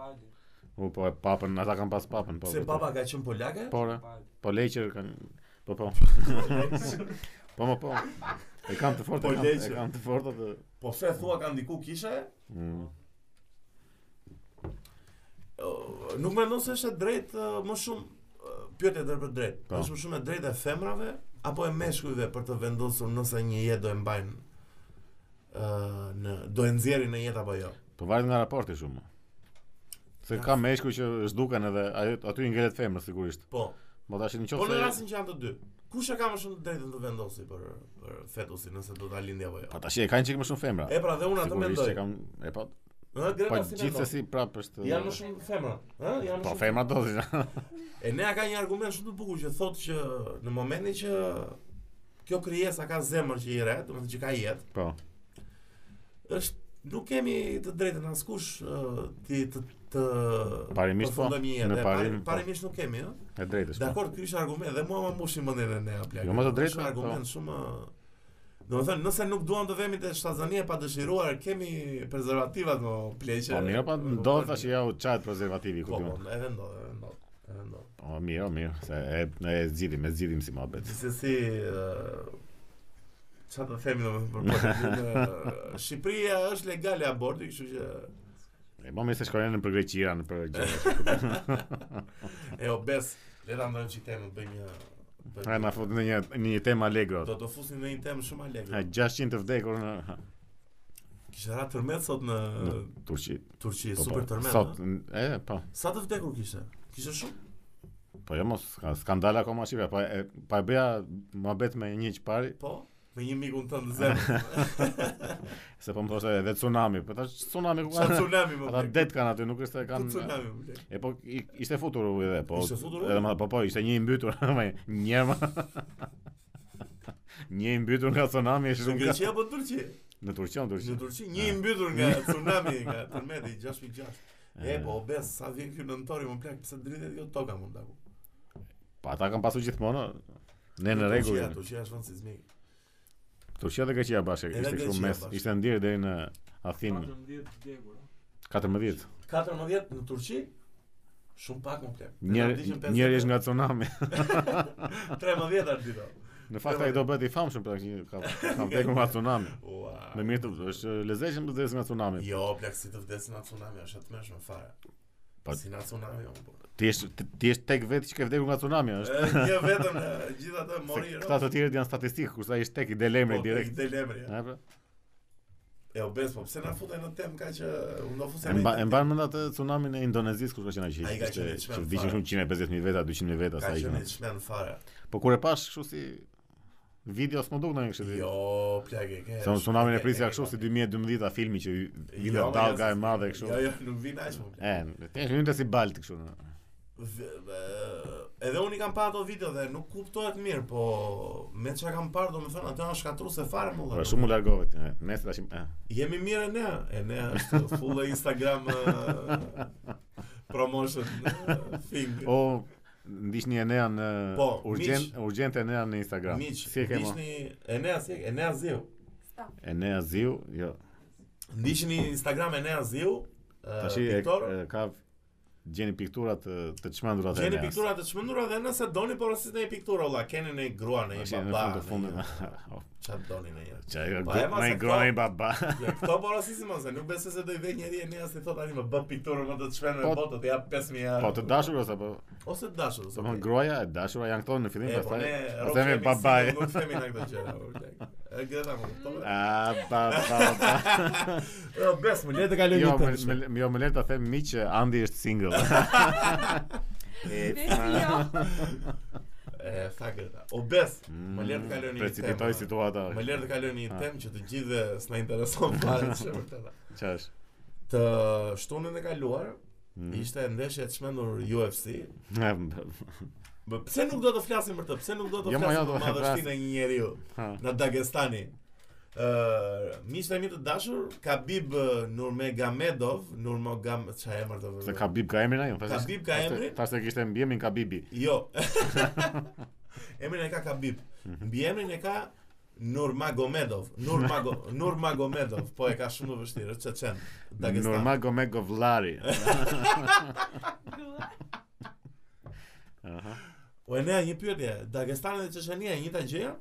S1: U po e papën, ata kanë pas papën, po.
S2: Se
S1: po.
S2: papa ka qenë polake?
S1: Po, re. po leqer kanë po po. Po më po. E kanë të fortë,
S2: Po,
S1: e kanë-
S2: leqer.
S1: e kanë të fortë të.
S2: Po fe thua ka ndiku kishe?
S1: Mm.
S2: Ë, Nuk mendon se është e drejtë ë, më shumë ë, pyetje drejt për drejt.
S1: Po.
S2: Është më shumë e drejtë e femrave apo e meshkujve për të vendosur nëse një jetë do e mbajnë ë në do e nxjerrin në jetë apo jo.
S1: Po varet nga raporti shumë. Se ka meshkuj që zhduken edhe ajo aty i ngelet femër sigurisht.
S2: Po.
S1: Po tash në
S2: Po në
S1: qoftë se
S2: rastin që janë të dy. Kush e ka më shumë të drejtën të vendosi për për fetusin nëse do ta lindi apo
S1: po
S2: jo?
S1: tash e kanë çik më shumë femra.
S2: E pra dhe unë atë
S1: Sigurisht
S2: mendoj.
S1: që kam e po.
S2: Ë
S1: Po
S2: Greta si mendon?
S1: gjithsesi prapë është
S2: Janë më shumë femra, ë? Janë më
S1: Po
S2: shumë
S1: femra do të thotë.
S2: E nea ka një argument shumë të bukur që thotë që në momentin që kjo krijesa ka zemër që i re, domethënë që ka jetë,
S1: Po.
S2: është nuk kemi të drejtën askush ë, ti të të
S1: Parimisht po,
S2: përfundojmë një jetë.
S1: në
S2: E,
S1: parim,
S2: pari-
S1: po.
S2: parimisht nuk kemi, ëh.
S1: E drejtësh. po.
S2: Dakor, ky është argument dhe mua më mbushin mendjen e nea plak.
S1: Jo, më të
S2: Është
S1: drejtë,
S2: argument shumë ë, Domethënë, nëse nuk duam të vemi te shtazania pa dëshiruar, kemi prezervativat më pleqe.
S1: Po mirë, po ndodh tash ja u çajt prezervativi ku
S2: Po,
S1: ti.
S2: po,
S1: më-
S2: edhe ndodh, edhe ndodh. Edhe ndodh.
S1: Po mirë, mirë, se e ne e zgjidhim, e zgjidhim si mohabet.
S2: Gjithsesi, ë, Qa të eh, themi domethënë për politikën, Shqipëria është legale aborti, kështu që
S1: E më mirë se shkojnë në për Greqi, në për gjëra.
S2: e obes, le ta ndrojmë çik temën, bëjmë një bëjmë-
S1: Ai na fut në një në një temë allegro.
S2: Do të fusim në një temë shumë
S1: Ha,
S2: alegre.
S1: 600 të vdekur në ha,
S2: Kishte ra tërmet sot në
S1: Në- Turqi.
S2: Turqi,
S1: Po, po,
S2: super tërmet.
S1: Sot,
S2: Sot.
S1: n- e, po.
S2: Sa të vdekur kishte? Kishte shumë?
S1: Po jo mos, ka skandal akoma në Shqipëri, pa e, pa e bëja muhabet me një që pari,
S2: Po, me një mikun tënd në zemër.
S1: se po më thoshte edhe tsunami, po tash tsunami ku
S2: Sa
S1: kanë.
S2: tsunami më
S1: Ata
S2: vdek.
S1: det kanë aty, nuk është se
S2: Sa
S1: kanë.
S2: tsunami më vdek.
S1: E po i, ishte futur u edhe, po.
S2: Ishte futur uji?
S1: Edhe ma- po po, ishte një i mbytur, më një më. një i mbytur nga tsunami është
S2: Në
S1: shumë ka.
S2: Greqi apo në Turqi?
S1: Në Turqi, në Turqi.
S2: Në Turqi një i mbytur nga tsunami, nga tërmeti 6.6.
S1: Eh.
S2: E po, obes, sa vjen ky nëntori më plak, pse dritet jo toka mund ta ku.
S1: Po ata kanë pasur gjithmonë ne në rregull.
S2: Turqia,
S1: jemi.
S2: Turqia është vend sismik.
S1: Turqia dhe Greqia bashkë,
S2: Edhe
S1: ishte
S2: Greqia
S1: kështu mes,
S2: bashkë.
S1: ishte ndjerë deri në Athinë
S3: 14 vdekura.
S1: 14.
S2: 14 në Turqi? Shumë pak më plak.
S1: Njëri njëri është nga tsunami.
S2: 13 ardito.
S1: Në fakt ai do bëhet i famshëm për këtë ka ka vdekur nga tsunami.
S2: Ua.
S1: Me mirë të është lezetshëm të vdesë nga tsunami.
S2: Jo, plak si të vdesin nga tsunami, është atmeshme fare.
S1: Po-
S2: Si nga tsunami, unë po.
S1: Ti je ti je tek vetë që ke vdekur nga tsunami, është.
S2: E, Një vetëm e, gjithë atë
S1: Se
S2: mori i
S1: Këta të tjerët janë statistikë, kurse ai është tek i delemrit direkt.
S2: Dhe lemri. eh.
S1: A, pra.
S2: E obes, po pse na futen në temë ka që unë do
S1: Eh. E
S2: fusem.
S1: mba- e mban mend atë tsunamin e Indonezisë kur ka qenë aq
S2: Ai ka qenë i
S1: hiç.
S2: çmendur
S1: Viqin
S2: fare.
S1: shumë 150000 veta, 200000 veta
S2: Ka
S1: sa ishin.
S2: qenë i çmen fare.
S1: Po kur e pash kështu si video s'më duk ndonjë kështu.
S2: Jo, plak e ke.
S1: Se unë tsunamin e prisja kështu si 2012-a filmi që i- vinte
S2: Jo,
S1: dalga
S2: jo,
S1: e madhe
S2: Jo,
S1: kështu. Eh.
S2: jo, nuk vin aq më. plak.
S1: E, ti je hynte si balt kështu. në-
S2: V- e, Edhe unë i kam parë ato video dhe nuk kuptohet mirë, po me çka kam parë domethënë atë janë shkatruese fare më
S1: Po shumë u largove ti. e, Nesër tash. e.
S2: Jemi mirë e ne, e ne është full e Instagram e, promotion e, thing.
S1: O ndiqni Enea në
S2: Po,
S1: urgent urgent Enea në Instagram.
S2: Miq,
S1: si e ke mo?
S2: ndiqni Enea, si e ke? Enea Ziu.
S1: Enea Ziu, jo.
S2: Ndiqni Instagram Enea Ziu, e,
S1: Tash e,
S2: piktor.
S1: e ka gjeni piktura të të çmendura të
S2: Gjeni
S1: Eneas.
S2: piktura të çmendura dhe nëse doni porosit në një pikturë, olla, keni në një grua, në
S1: Tash
S2: një
S1: në
S2: baba,
S1: fund të fundit.
S2: në
S1: O,
S2: një- çfarë doni në një.
S1: Çaj,
S2: Po, e mos
S1: me
S2: e
S1: groni
S2: thon.
S1: baba.
S2: Ja, këto porosisim ose nuk besoj se do i vë njëri Enea si thot tani më bë pikturën më do të shpërnë me
S1: Po-
S2: botë, të jap 5000 euro.
S1: Po të dashur ose po,
S2: ose të
S1: do
S2: dashur, ose.
S1: të thonë
S2: okej.
S1: groja e dashura janë këto në fillim
S2: E, po
S1: pastaj.
S2: ne
S1: Ose me
S2: rrofemi
S1: babai.
S2: si nuk themi na këtë gjëra. o, lek. E po, gjeta më kuptove?
S1: A baba.
S2: Jo, bes, më le të kaloj
S1: Jo,
S2: një
S1: më
S2: tëmë.
S1: më- jo më le ta them miq që Andi është single.
S4: Vesi jo.
S2: E, tha gjeta. O bes,
S1: Mm,
S2: më le të kaloj një temë.
S1: Precipitoj situata.
S2: Më le të kaloj një
S1: Ah.
S2: temë që të gjithëve s'na intereson fare çfarë vërtet.
S1: Çfarë është?
S2: Të shtunën e kaluar
S1: Mm.
S2: ishte ndeshje e çmendur UFC.
S1: Ha,
S2: Bë, pse nuk do të flasim për të? Pse nuk do të
S1: Jo, ma, jo,
S2: flasim
S1: do-
S2: për madhështinë e një njeriu në Dagestani? Ë, miqtë e mi të dashur, Khabib ë, Nurmagomedov, Nurmagam, çfarë emër do
S1: Se Khabib ka emrin ajo. thashtë-
S2: Khabib ka
S1: thashtë-
S2: emrin?
S1: Thashtë kishte mbjemin Khabibi.
S2: Jo. emrin e ka Khabib.
S1: Mhm.
S2: Mbi emrin e ka Nurmagomedov, Nurmago Nurmagomedov, po e ka shumë të vështirë, çeçen. Dagestan.
S1: Norma Gomegovllari.
S2: O e nea një pyetje, Dagestani dhe Çeçenia e njëjta gjë?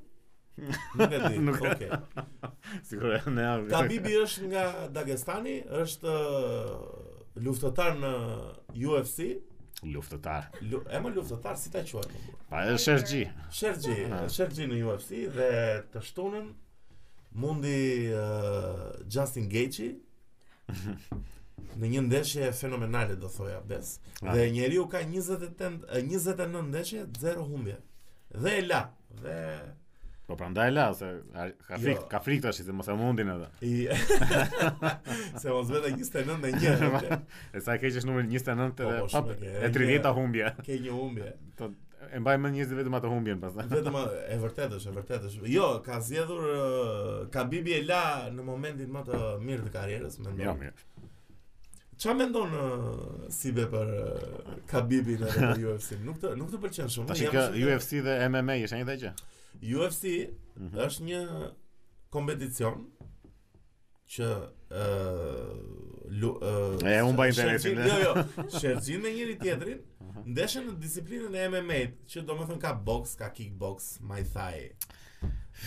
S2: Nuk e di.
S1: Nuk e-
S2: Okej.
S1: Sigur e ne.
S2: Khabibi është nga Dagestani, është ë, luftëtar në UFC.
S1: Luftëtar.
S2: Lu, e më luftëtar si ta quajmë?
S1: Pa e shërgji.
S2: Sherxhi,
S1: Ah.
S2: Sherxhi në UFC dhe të shtunën mundi ë, Justin Gaethje në një ndeshje fenomenale do thoja bes.
S1: Ah.
S2: Dhe njeriu ka 28 ë, 29 ndeshje, 0 humbje. Dhe e la. Dhe
S1: Po prandaj la se a- ka
S2: Jo.
S1: frik, ka frik tash se mos e mundin edhe.
S2: i se mos vete 29 në një. okay.
S1: E sa e keq është numri 29
S2: Jo, Po,
S1: dhe
S2: po,
S1: pap
S2: shumë e ke.
S1: e 30-ta humbje.
S2: Ke një humbje.
S1: Po e mbaj mend 20 vetëm ato humbjen pastaj.
S2: Vetëm a- e vërtetë është, e vërtetë është. Jo, ka zgjedhur ë, Khabibi e la në momentin më të mirë të karrierës, mendoj.
S1: Jo, mirë.
S2: Qa mendon ë, Sibe për ë, Khabibin edhe për UFC? Nuk të nuk të pëlqen shumë.
S1: Tash
S2: Jam
S1: kjo
S2: shumë-
S1: UFC dhe MMA është një gjë.
S2: UFC
S1: Mhm.
S2: është një kompeticion që ë lu- ë
S1: E, unë baj
S2: shërgjin-
S1: interesin, e.
S2: Jo, jo. Shërgjin me njëri tjetrin,
S1: Mhm.
S2: ndeshën në disiplinën e MMA-t, që domethënë ka boks, ka kickboks, muay thai.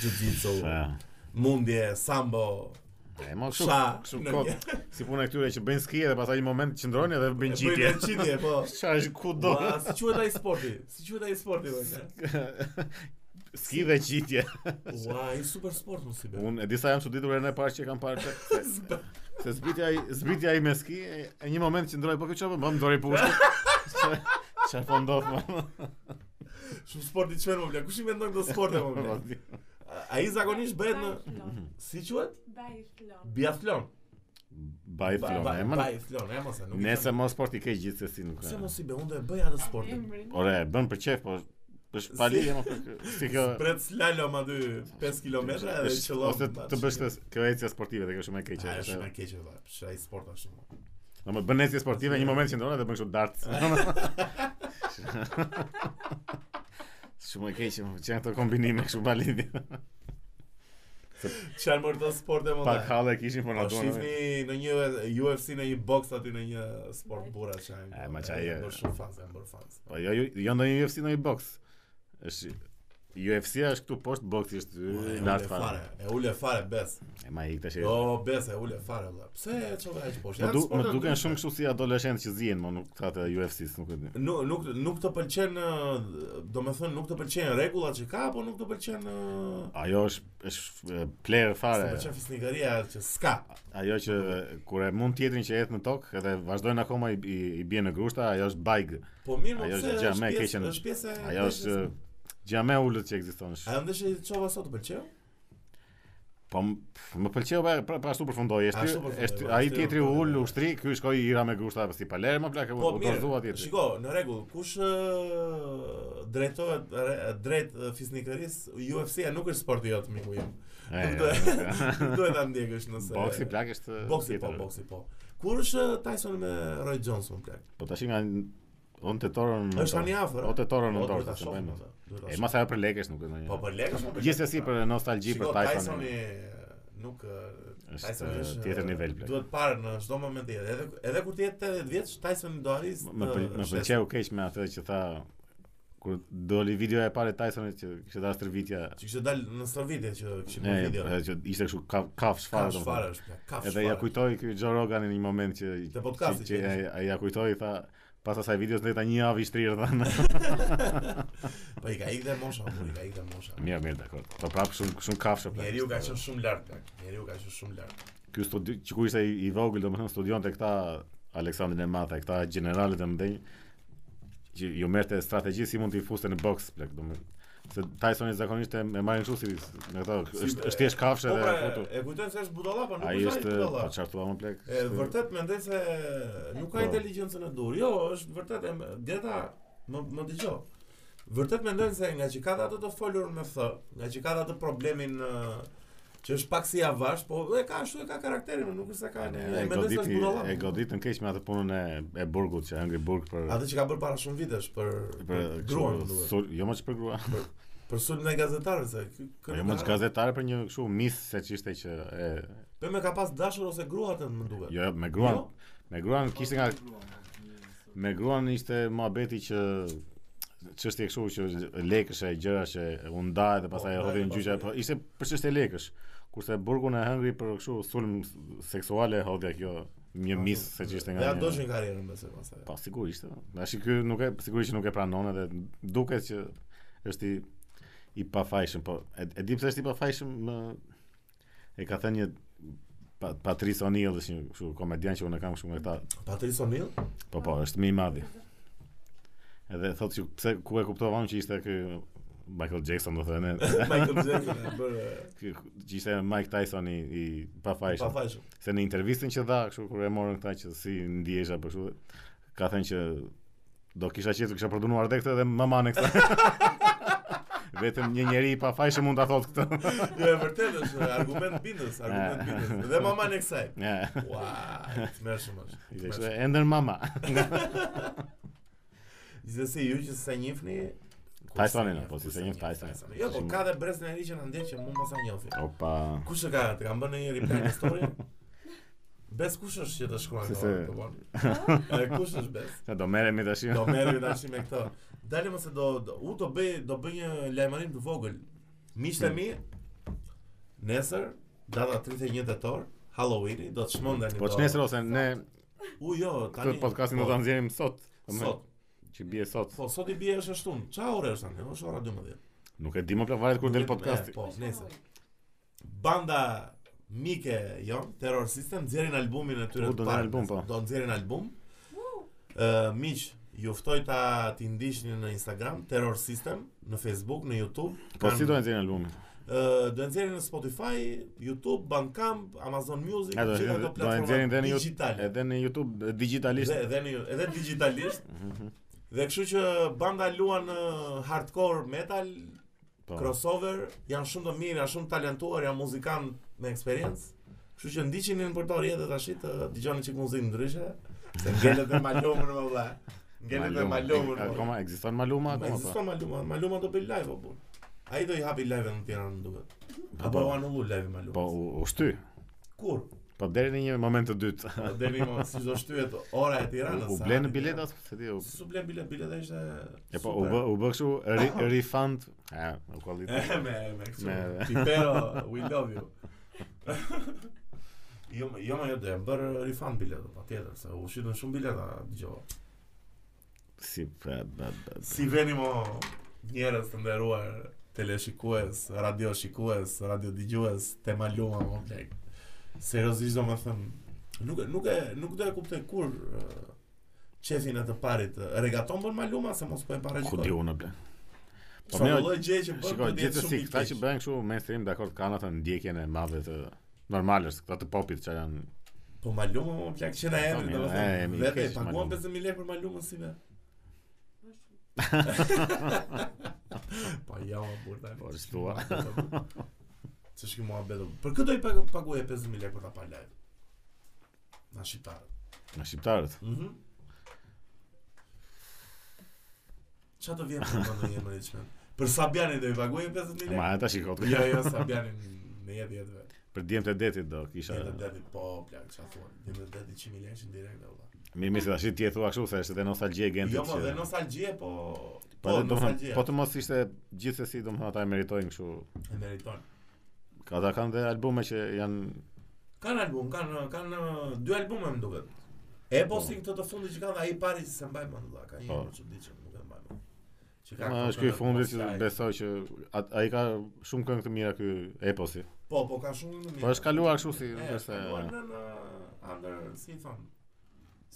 S2: jiu-jitsu,
S1: Ja.
S2: mundje, sambo,
S1: E mo kështu,
S2: Sa,
S1: kështu
S2: në
S1: kot,
S2: një-
S1: si puna e këtyre që bëjnë ski edhe pastaj një moment qëndrojnë edhe bëjnë gjitje.
S2: Bëjnë Gjitje, po.
S1: Qa është ku do?
S2: Ua, si quhet ai sporti? Si quhet ai sporti valla?
S1: Ski dhe gjitje.
S2: Ua, i super sport mos i bën.
S1: Unë e disa jam çuditur herën e parë që e kam parë çak. se- Se zbitja ai, zbitja ai me ski, e, e një moment qëndroi, po kjo çfarë bën? Bëm dorë pushtë. Çfarë po ndodh më?
S2: Shumë sport i çmen më bla. Kush i mendon këto sporte po më bla? Ai zakonisht bëhet në jo. si jo. quhet?
S3: Biathlon.
S2: Biathlon.
S1: Baj
S2: Ba-
S1: flon,
S2: ba-
S1: e më.
S2: Biathlon, e mos e nuk. e
S1: Nëse
S2: kam.
S1: mos sport i ke gjithë se si nuk
S2: pse
S1: e.
S2: mos i bën unë do e bëja atë sportin.
S3: Emrin.
S1: Ore, e bën për qef, po është pali
S2: Si-
S1: e më për kë- si kjo.
S2: Pret slalom aty 5 kilometra edhe
S1: është-
S2: qëllon.
S1: Ose
S2: bash,
S1: të bësh
S2: ja.
S1: të kjo ecje sportive dhe kjo është më e keqe.
S2: Ai është
S1: është-
S2: më keq e valla. Është ai sport ashtu.
S1: Do më bën ecje sportive një moment që ndonë dhe bën kështu dart. Shumë e keq, më që janë këto kombinime kështu pa lidhje.
S2: Çfarë mërë të sporte më
S1: Pak halle kishin po na
S2: Po
S1: duan.
S2: shifni në një UFC në një box aty në një sport burra çajm.
S1: E, ma çaj, e.
S2: Bërë shumë fans, janë bërë fans.
S1: Po jo, jo- jo ndonjë UFC në një boks. Është UFC-a është këtu poshtë boksi është
S2: Po, E
S1: lart
S2: ule
S1: fare.
S2: fare, e ule fare bes.
S1: E ma ik tash. e-
S2: Jo, bes e ule fare valla. Pse e çove aq poshtë?
S1: Më Po,
S2: Janë
S1: du, më
S2: sporte
S1: duken
S2: ndryshe.
S1: shumë kështu si adoleshentë që zihen, më nuk thatë UFC-s, nuk e di.
S2: Nuk nuk nuk të pëlqen, ë, do me thënë nuk të pëlqen rregullat që ka, apo nuk të pëlqen ë,
S1: Ajo është është e, player
S2: s'të
S1: fare.
S2: pëlqen fisnikaria që s'ka.
S1: Ajo që e, kur e mund tjetrin që jetë në tokë edhe vazhdojnë akoma i, i, i bie në grushta, ajo është bajg.
S2: Po mirë, më
S1: Ajo
S2: pse
S1: është gjë
S2: është
S1: me
S2: pjesë,
S1: keqen.
S2: është pjesë. e
S1: Ajo është
S2: ndeshjes.
S1: gjë më e ulët që ekziston. Sh-
S2: Ajo ndeshje që çova sot të pëlqeu?
S1: Po m- pf, më pëlqeu pra, pra, pra ashtu përfundoi. Është
S2: Ashtu përfundoi,
S1: është
S2: po,
S1: ai
S2: ashtu
S1: tjetri
S2: përfundoi,
S1: ul
S2: po.
S1: ushtri, ky shkoi i hira me grushta si Palermo plak u
S2: Po
S1: u
S2: mirë,
S1: dorëzua tjetri.
S2: shiko, në rregull, kush ë, drejtohet re- drejt ë, fisnikërisë, UFC-ja nuk është sporti jot, miku im.
S1: E,
S2: Nuk
S1: e,
S2: duhet
S1: e,
S2: nuk duhet ta ndjekësh nëse
S1: Boksi plak është
S2: Boksi po,
S1: tjetër.
S2: boksi po. Kur është ë, Tyson me Roy Johnson plak?
S1: Po tash nga on tetorën.
S2: Është tani afër.
S1: po. O tetorën në
S2: Po, duhet
S1: dorë.
S2: ta
S1: se
S2: shohim
S1: bëjmë.
S2: atë, duhet ta
S1: E
S2: shohim.
S1: mas ajo për lekësh nuk e ndonjë.
S2: Po për lekë shumë.
S1: Gjithsesi për nostalgji për Tyson.
S2: Tysoni e, nuk ë,
S1: Është,
S2: Tyson
S1: ë,
S2: është
S1: tjetër
S2: ë,
S1: nivel, plak.
S2: Duhet parë në çdo moment tjetër. Edhe edhe kur të jetë 80 vjeç, Tyson do arrijë.
S1: Më pël- më pëlqeu keq me atë që tha kur doli videoja e parë e Tysonit që kishte dhënë stërvitja.
S2: Që kishte dalë në stërvitje që kishim
S1: E,
S2: në video.
S1: e, që ishte kështu kaf- kafsh fare
S2: Kafsh
S1: domethënë.
S2: fare është plak, kafsh
S1: Edhe ja
S2: fare.
S1: kujtoi ky Joe Rogan në një moment që
S2: Te podcasti
S1: që,
S2: që
S1: që ai- ai ja kujtoi tha pas asaj videos ndeta një javë i shtrirë thanë.
S2: Po i ka ikë dhe mosha, po i ka ikë dhe mosha.
S1: mirë, mirë, dakor. Po prap shumë shumë kafshë plak.
S2: Njeriu ka qenë shumë lart plak. Njeriu ka qenë shumë lart.
S1: Ky studi që ku ishte i, i vogël domethënë studionte këta Aleksandrin e Madh, e këta gjeneralet e mëdhenj që ju merrte strategji si mund t'i fuste në boks plak domethënë. Se Tysoni zakonisht e e marrin kështu si me këto është është thjesht kafshë
S2: Po
S1: dhe
S2: pra,
S1: futu.
S2: e kujtojnë se është budalla, po nuk
S1: Ai
S2: është ai
S1: është
S2: budalla.
S1: pa çfarë thua më plak.
S2: E vërtet mendoj se nuk ka
S1: Po.
S2: inteligjencën e dur. Jo, është vërtet e deta më më dëgjoj. Vërtet mendoj se nga që ka dhe atë të folur me thë, nga që ka dhe atë problemin ë, që është pak si avash, po e ka ashtu e ka karakterin, nuk është se ka.
S1: E,
S2: E
S1: e
S2: mendoj se është
S1: goditi
S2: budalla.
S1: e goditën keq me atë punën e e burgut që Angry Burg për
S2: Atë që ka bërë para shumë vitesh për për
S1: kështu
S2: gruan, më duhet.
S1: sul- jo më që për grua.
S2: Për sulmin e gazetarëve se ky
S1: Jo më që
S2: këngëtar-
S1: gazetare për një kështu mis se ç'ishte që e
S2: Pe me ka pas dashur ose gruatën më duket.
S1: jo me gruan
S2: Jo?
S1: me gruan kishte nga Me gruan ishte muhabeti që çështje kështu që lekësh e gjëra që u nda edhe pastaj e
S2: Po,
S1: hodhin
S2: po,
S1: gjyqja,
S2: po.
S1: po ishte për çështje lekësh. Kurse burgun e hëngri për kështu sulm seksuale hodhja kjo një mis jo, se që ishte
S2: Po, Ja
S1: nga. një-
S2: doshin karrierën besoj pastaj.
S1: Po sigurisht. ë. Tash ky nuk e sigurisht që nuk e pranon edhe duket që është i i pafajshëm, po e, e di pse është i pafajshëm më e ka thënë një Pa- Patrice O'Neill është një kështu komedian që unë e kam kështu nga këta
S2: Patrice O'Neill?
S1: Po po, është më i madhi. Edhe thotë që pse ku e kuptovam që ishte ky Michael Jackson do thënë,
S2: Michael Jackson e bërë
S1: ky- që ishte Mike Tyson i, i
S2: pa
S1: pafajshëm.
S2: fajshëm.
S1: Se në intervistën që dha, kështu kur e morën këta që si ndjesha për kështu, ka thënë që do kisha qenë kisha përdonuar dhe këtë dhe mamane këtë. Vetëm një njeri i pafajshëm mund ta thotë këtë.
S2: Jo e vërtet është argument bindës, argument
S1: Ah.
S2: bindës. Dhe mama në kësaj.
S1: Ja.
S2: Ua, mërshëm është.
S1: Ishte kështu
S2: tmerrshëm.
S1: e ndër mama.
S2: Gjithsesi ju që s'e njihni kur
S1: Tysonin,
S2: s'e njeh,
S1: po, si
S2: kur
S1: s'e
S2: s'e
S1: njeh
S2: njeh
S1: Tysonin.
S2: Tysonin. Jo, po ka dhe brez në që na ndjek që mund mos ta njohim.
S1: Opa.
S2: Kush e ka? Të kam bërë një reply në story? Bes kush është që të shkruan
S1: Se
S2: këto?
S1: se-
S2: të bon? E, Kush është Bes?
S1: Se do merremi tash.
S2: Do merrem tash me këto. Dalim ose do, do u do bëj do bëj një lajmërim të vogël. Miqtë e mi Nesër, data 31 tetor, Halloweeni, do të shmendeni.
S1: Po
S2: do-
S1: ç'nesër ose ne
S2: U jo, tani.
S1: këtë
S2: po,
S1: podcastin do ta nxjerrim sot. domethënë,
S2: sot.
S1: Që bie sot.
S2: Po sot i bie është ashtu. Çfarë ore është tani? Është ora 12.
S1: Nuk e di më plot varet kur del
S2: E,
S1: podcasti.
S2: Po, nesër. Banda mike jon, Terror System nxjerrin albumin e tyre
S1: U, do nxjerrin
S2: parë.
S1: album, po.
S2: Do nxjerrin album. Ë miq, ju ftoj ta ti ndiqni në Instagram Terror System, në Facebook, në YouTube.
S1: Po
S2: Kanë-
S1: si do të nxjerrim albumin?
S2: Ë, do nxjerrin në Spotify, YouTube, Bandcamp, Amazon Music,
S1: Ja, do
S2: gjitha
S1: do
S2: ato
S1: të nxjerrim edhe në YouTube, edhe
S2: digjitale.
S1: në YouTube digjitalisht.
S2: Dhe edhe në edhe digitalisht.
S1: Mhm.
S2: Dhe kështu që banda luan ë, hardcore metal,
S1: Po.
S2: crossover, janë shumë të mirë, janë shumë talentuar, janë muzikantë me eksperiencë. Kështu që ndiqeni në Porto Rjetë tash të dëgjoni çik muzikë ndryshe, se ngelet me malumën më vëlla. Ngelet me malumën. më vëlla.
S1: Akoma ekziston Maluma
S2: Ma
S1: akoma po.
S2: Ekziston maluma, maluma do bëj live apo? Ai do i hapi live në Tiranë duket. Apo
S1: po.
S2: u anullu live maluma.
S1: Po u, u shty.
S2: Kur?
S1: Po deri në një moment të dytë.
S2: Deri më si do shtyhet ora e Tiranës.
S1: U
S2: sa
S1: blen
S2: ati
S1: bileta
S2: Tiranë.
S1: apo se di u.
S2: Si su blen bilet, bileta ishte
S1: E po u
S2: super.
S1: bë u bë kështu re- refund. Ah, u kualitet.
S2: E, me, me kështu.
S1: Me-
S2: Pipero, we love you. jo, më- jo më jo dhe, më bërë refund biletën, pa tjetër, se u shqitën shumë bileta, dëgjova.
S1: Si pra, ba- ba-
S2: Si veni mo njerës të nderuar, teleshikues, radio shikues, radio digjues, tema luma më plek. Seriozisht do më thëmë, nuk, e- nuk, e, nuk do e kuptoj kur uh, qefin e të parit, ë, regaton për maluma se mos po e para
S1: ku di unë ble. Po
S2: Po më
S1: më
S2: lloj gjë që bën. po
S1: Shikoj, gjithsesi këta që bëjnë kështu mainstream, dakord, kanë atë ndjekjen e madhe të normalës, këta të popit që janë
S2: Po maluma më plak që na
S1: Po,
S2: emri,
S1: mirë, e,
S2: domethënë.
S1: mi
S2: Vetë
S1: keq,
S2: e paguam
S1: maluma.
S2: 50.000 lekë për malumën si me. Po ja më burta.
S1: Po, shtua.
S2: Ç'është ky muhabet? o. Për këtë do i pagu paguaj 50.000 lekë për ta parë live. Na shqiptarët.
S1: në shqiptarët.
S2: Mhm. Qa të vjen për mëndë një mëri qëmen? Për Sabjani do i paguaj 50.000
S1: Ma
S2: lekë?
S1: ata shikot.
S2: Jo, jo, Sabjani në jetë jetëve.
S1: Për djemt e detit do kisha.
S2: Jetë të deti, po, plak, qa thua. Jetë të deti 100.000 lekë që në direkt e vëlla.
S1: Mirë, mirë, se tash ti e thua kështu se është edhe nostalgji e gentit.
S2: Jo, po,
S1: që-
S2: dhe nostalgjie, po...
S1: Po,
S2: Po,
S1: dhe, domethënë,
S2: nostalgjie.
S1: po të mos ishte gjithsesi, domethënë ata e meritojnë kështu.
S2: E meriton.
S1: Ata kanë dhe albume që janë
S2: Kanë album, kanë kanë uh, dy albume më duket. E po si këtë të fundit që ka dhe ai i pari që se mbaj mend vëlla, ka një
S1: Po.
S2: emër çuditshëm, nuk e mbaj mend. Që
S1: Ma
S2: këto
S1: është ky
S2: këngë,
S1: fundi
S2: po,
S1: që
S2: si ai.
S1: besoj që at- ai ka shumë këngë të mira ky eposi.
S2: Po, po ka shumë në mirë.
S1: Po është kaluar kështu si, nuk
S2: E,
S1: është
S2: kaluar
S1: se
S2: në në under si i thon.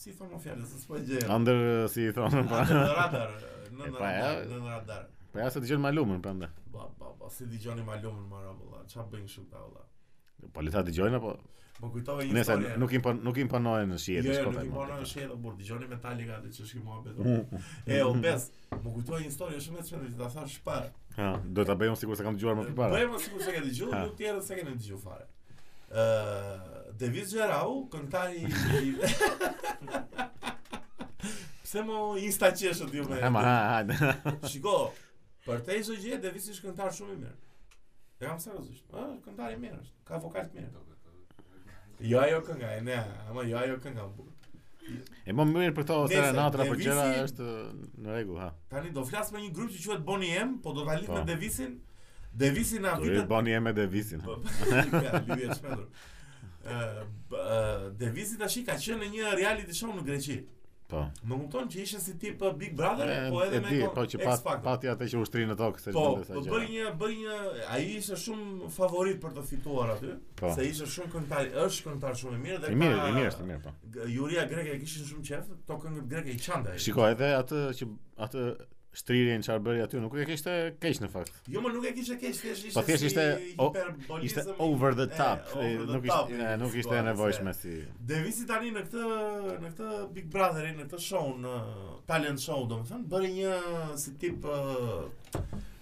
S2: Si i thon më fjalë, s'po e gjej.
S1: under si i thonë. po.
S2: Under the radar, në
S1: E,
S2: në
S1: pa, ja.
S2: radar, në në radar.
S1: Po ja se dëgjojnë Malumin prandaj.
S2: Ba, ba, ba, si dëgjoni malumën më ra vëlla, ç'a bëjnë kështu ta vëlla.
S1: Po le ta dëgjojnë apo
S2: Më kujtove një
S1: Nëse
S2: histori.
S1: nuk impon nuk imponohen në shihet
S2: Jo,
S1: në
S2: jo,
S1: Shkodër.
S2: nuk i
S1: mo.
S2: morën shi edhe burr, dëgjoni Metallica atë që shkim
S1: Mm.
S2: muhabet. E, o bes, më kujtoi një histori shumë e çmendur që ta thash shpar.
S1: Ha, do ta bëjmë sikur se kam dëgjuar më përpara.
S2: Bëjmë sikur se ke dëgjuar,
S1: Ha.
S2: nuk tjerë se keni dëgjuar fare. Ë, Davis Gerau, këngëtari i Pse më insta qeshët ju me?
S1: Ha, ma, ha, ha.
S2: Shiko, për te iso gjë, Davis është këngëtar shumë i mirë. E kam seriozisht. Ë, këngëtar i mirë është. Ka vokal të mirë. Jo ajo kënga, e ne, ama jo ajo kënga. burr.
S1: E më mirë për këto
S2: Nëse,
S1: serenatra për
S2: Devisi-
S1: po gjëra është në rregull, ha.
S2: Tani do flas me një grup që quhet Boni M, po do ta lidh
S1: Po.
S2: me Devisin. Devisi na
S1: Do i
S2: vitet
S1: bani e me Devisin.
S2: Po, ka lidhje e shpendur. Ë, b- ë, Devisi tash i ka qenë në një reality show në Greqi.
S1: Po.
S2: Më kupton që ishte si tip ë, Big Brother,
S1: E,
S2: po edhe
S1: e
S2: me
S1: di,
S2: kon-
S1: po që
S2: X
S1: pat
S2: Factor.
S1: pati atë që ushtrin në tokë se
S2: Po,
S1: çfarë
S2: po bëri një bëri një ai ishte shumë favorit për të fituar aty,
S1: Po.
S2: se ishte shumë këngëtar, është këngëtar shumë i mirë dhe
S1: I mirë, i mirë, është i mirë, po.
S2: g- Juria greke e kishin shumë qef, to këngët greke i çante ai.
S1: Shiko, edhe atë që atë shtrirjen çfarë bëri aty nuk e kishte keq në fakt.
S2: Jo, më nuk e kishte keq, thjesht ishte
S1: Po, thjesht ishte
S2: si
S1: o-
S2: hiperbolizëm
S1: Ishte
S2: Po, i-
S1: over the
S2: e,
S1: top,
S2: over
S1: e,
S2: the
S1: nuk
S2: top
S1: ishte e,
S2: i
S1: nuk ishte e
S2: situatës,
S1: nevojshme si.
S2: Devisi tani në këtë në këtë Big Brother, në këtë show, në talent show, domethënë, bëri një si tip ë,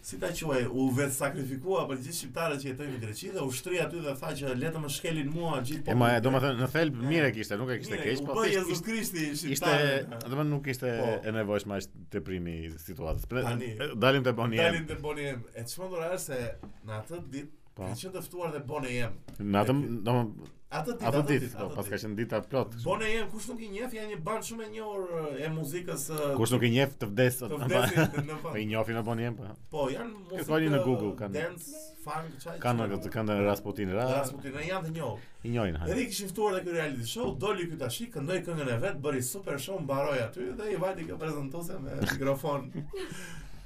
S2: si ta quaj, u vetë sakrifikua për gjithë shqiptarët që jetojnë në Greqi dhe u shtri aty dhe tha që le të më shkelin mua gjithë
S1: E ma, domethënë në thelb mirë e kishte, nuk e kishte
S2: Mire,
S1: keq,
S2: Po,
S1: po
S2: u bë
S1: thjesht
S2: Jezu Krishti
S1: Ishte,
S2: shqiptarën.
S1: domethënë nuk ishte
S2: Po.
S1: e nevojshme as deprimi i situatës. Pre,
S2: Tani.
S1: dalim te boni.
S2: Dalin të boni em. E çmendur është se në atë ditë
S1: Po.
S2: Ka qenë të ftuar dhe bone jem.
S1: Në atë, do
S2: Atë ditë,
S1: atë ditë, po, pas ka qenë dita plot.
S2: Bone jem, kush nuk i njeh, janë një band shumë e njohur eh, e muzikës ë,
S1: Kush nuk i njeh të vdes,
S2: të
S1: atë-
S2: vdesin në
S1: po i
S2: fund.
S1: njohin apo njem, po.
S2: Po, janë muzikë.
S1: kërkoni në Google,
S2: ë,
S1: kanë-
S2: dance, funk, çaj.
S1: Kanë kanë Rasputin, ra,
S2: Rasputin e janë të njohur.
S1: i njohin ha.
S2: Edhe i kishin ftuar te ky reality show, doli ky tash, këndoi këngën e vet, bëri super show, mbaroi aty dhe i vajti kë prezantuese me mikrofon.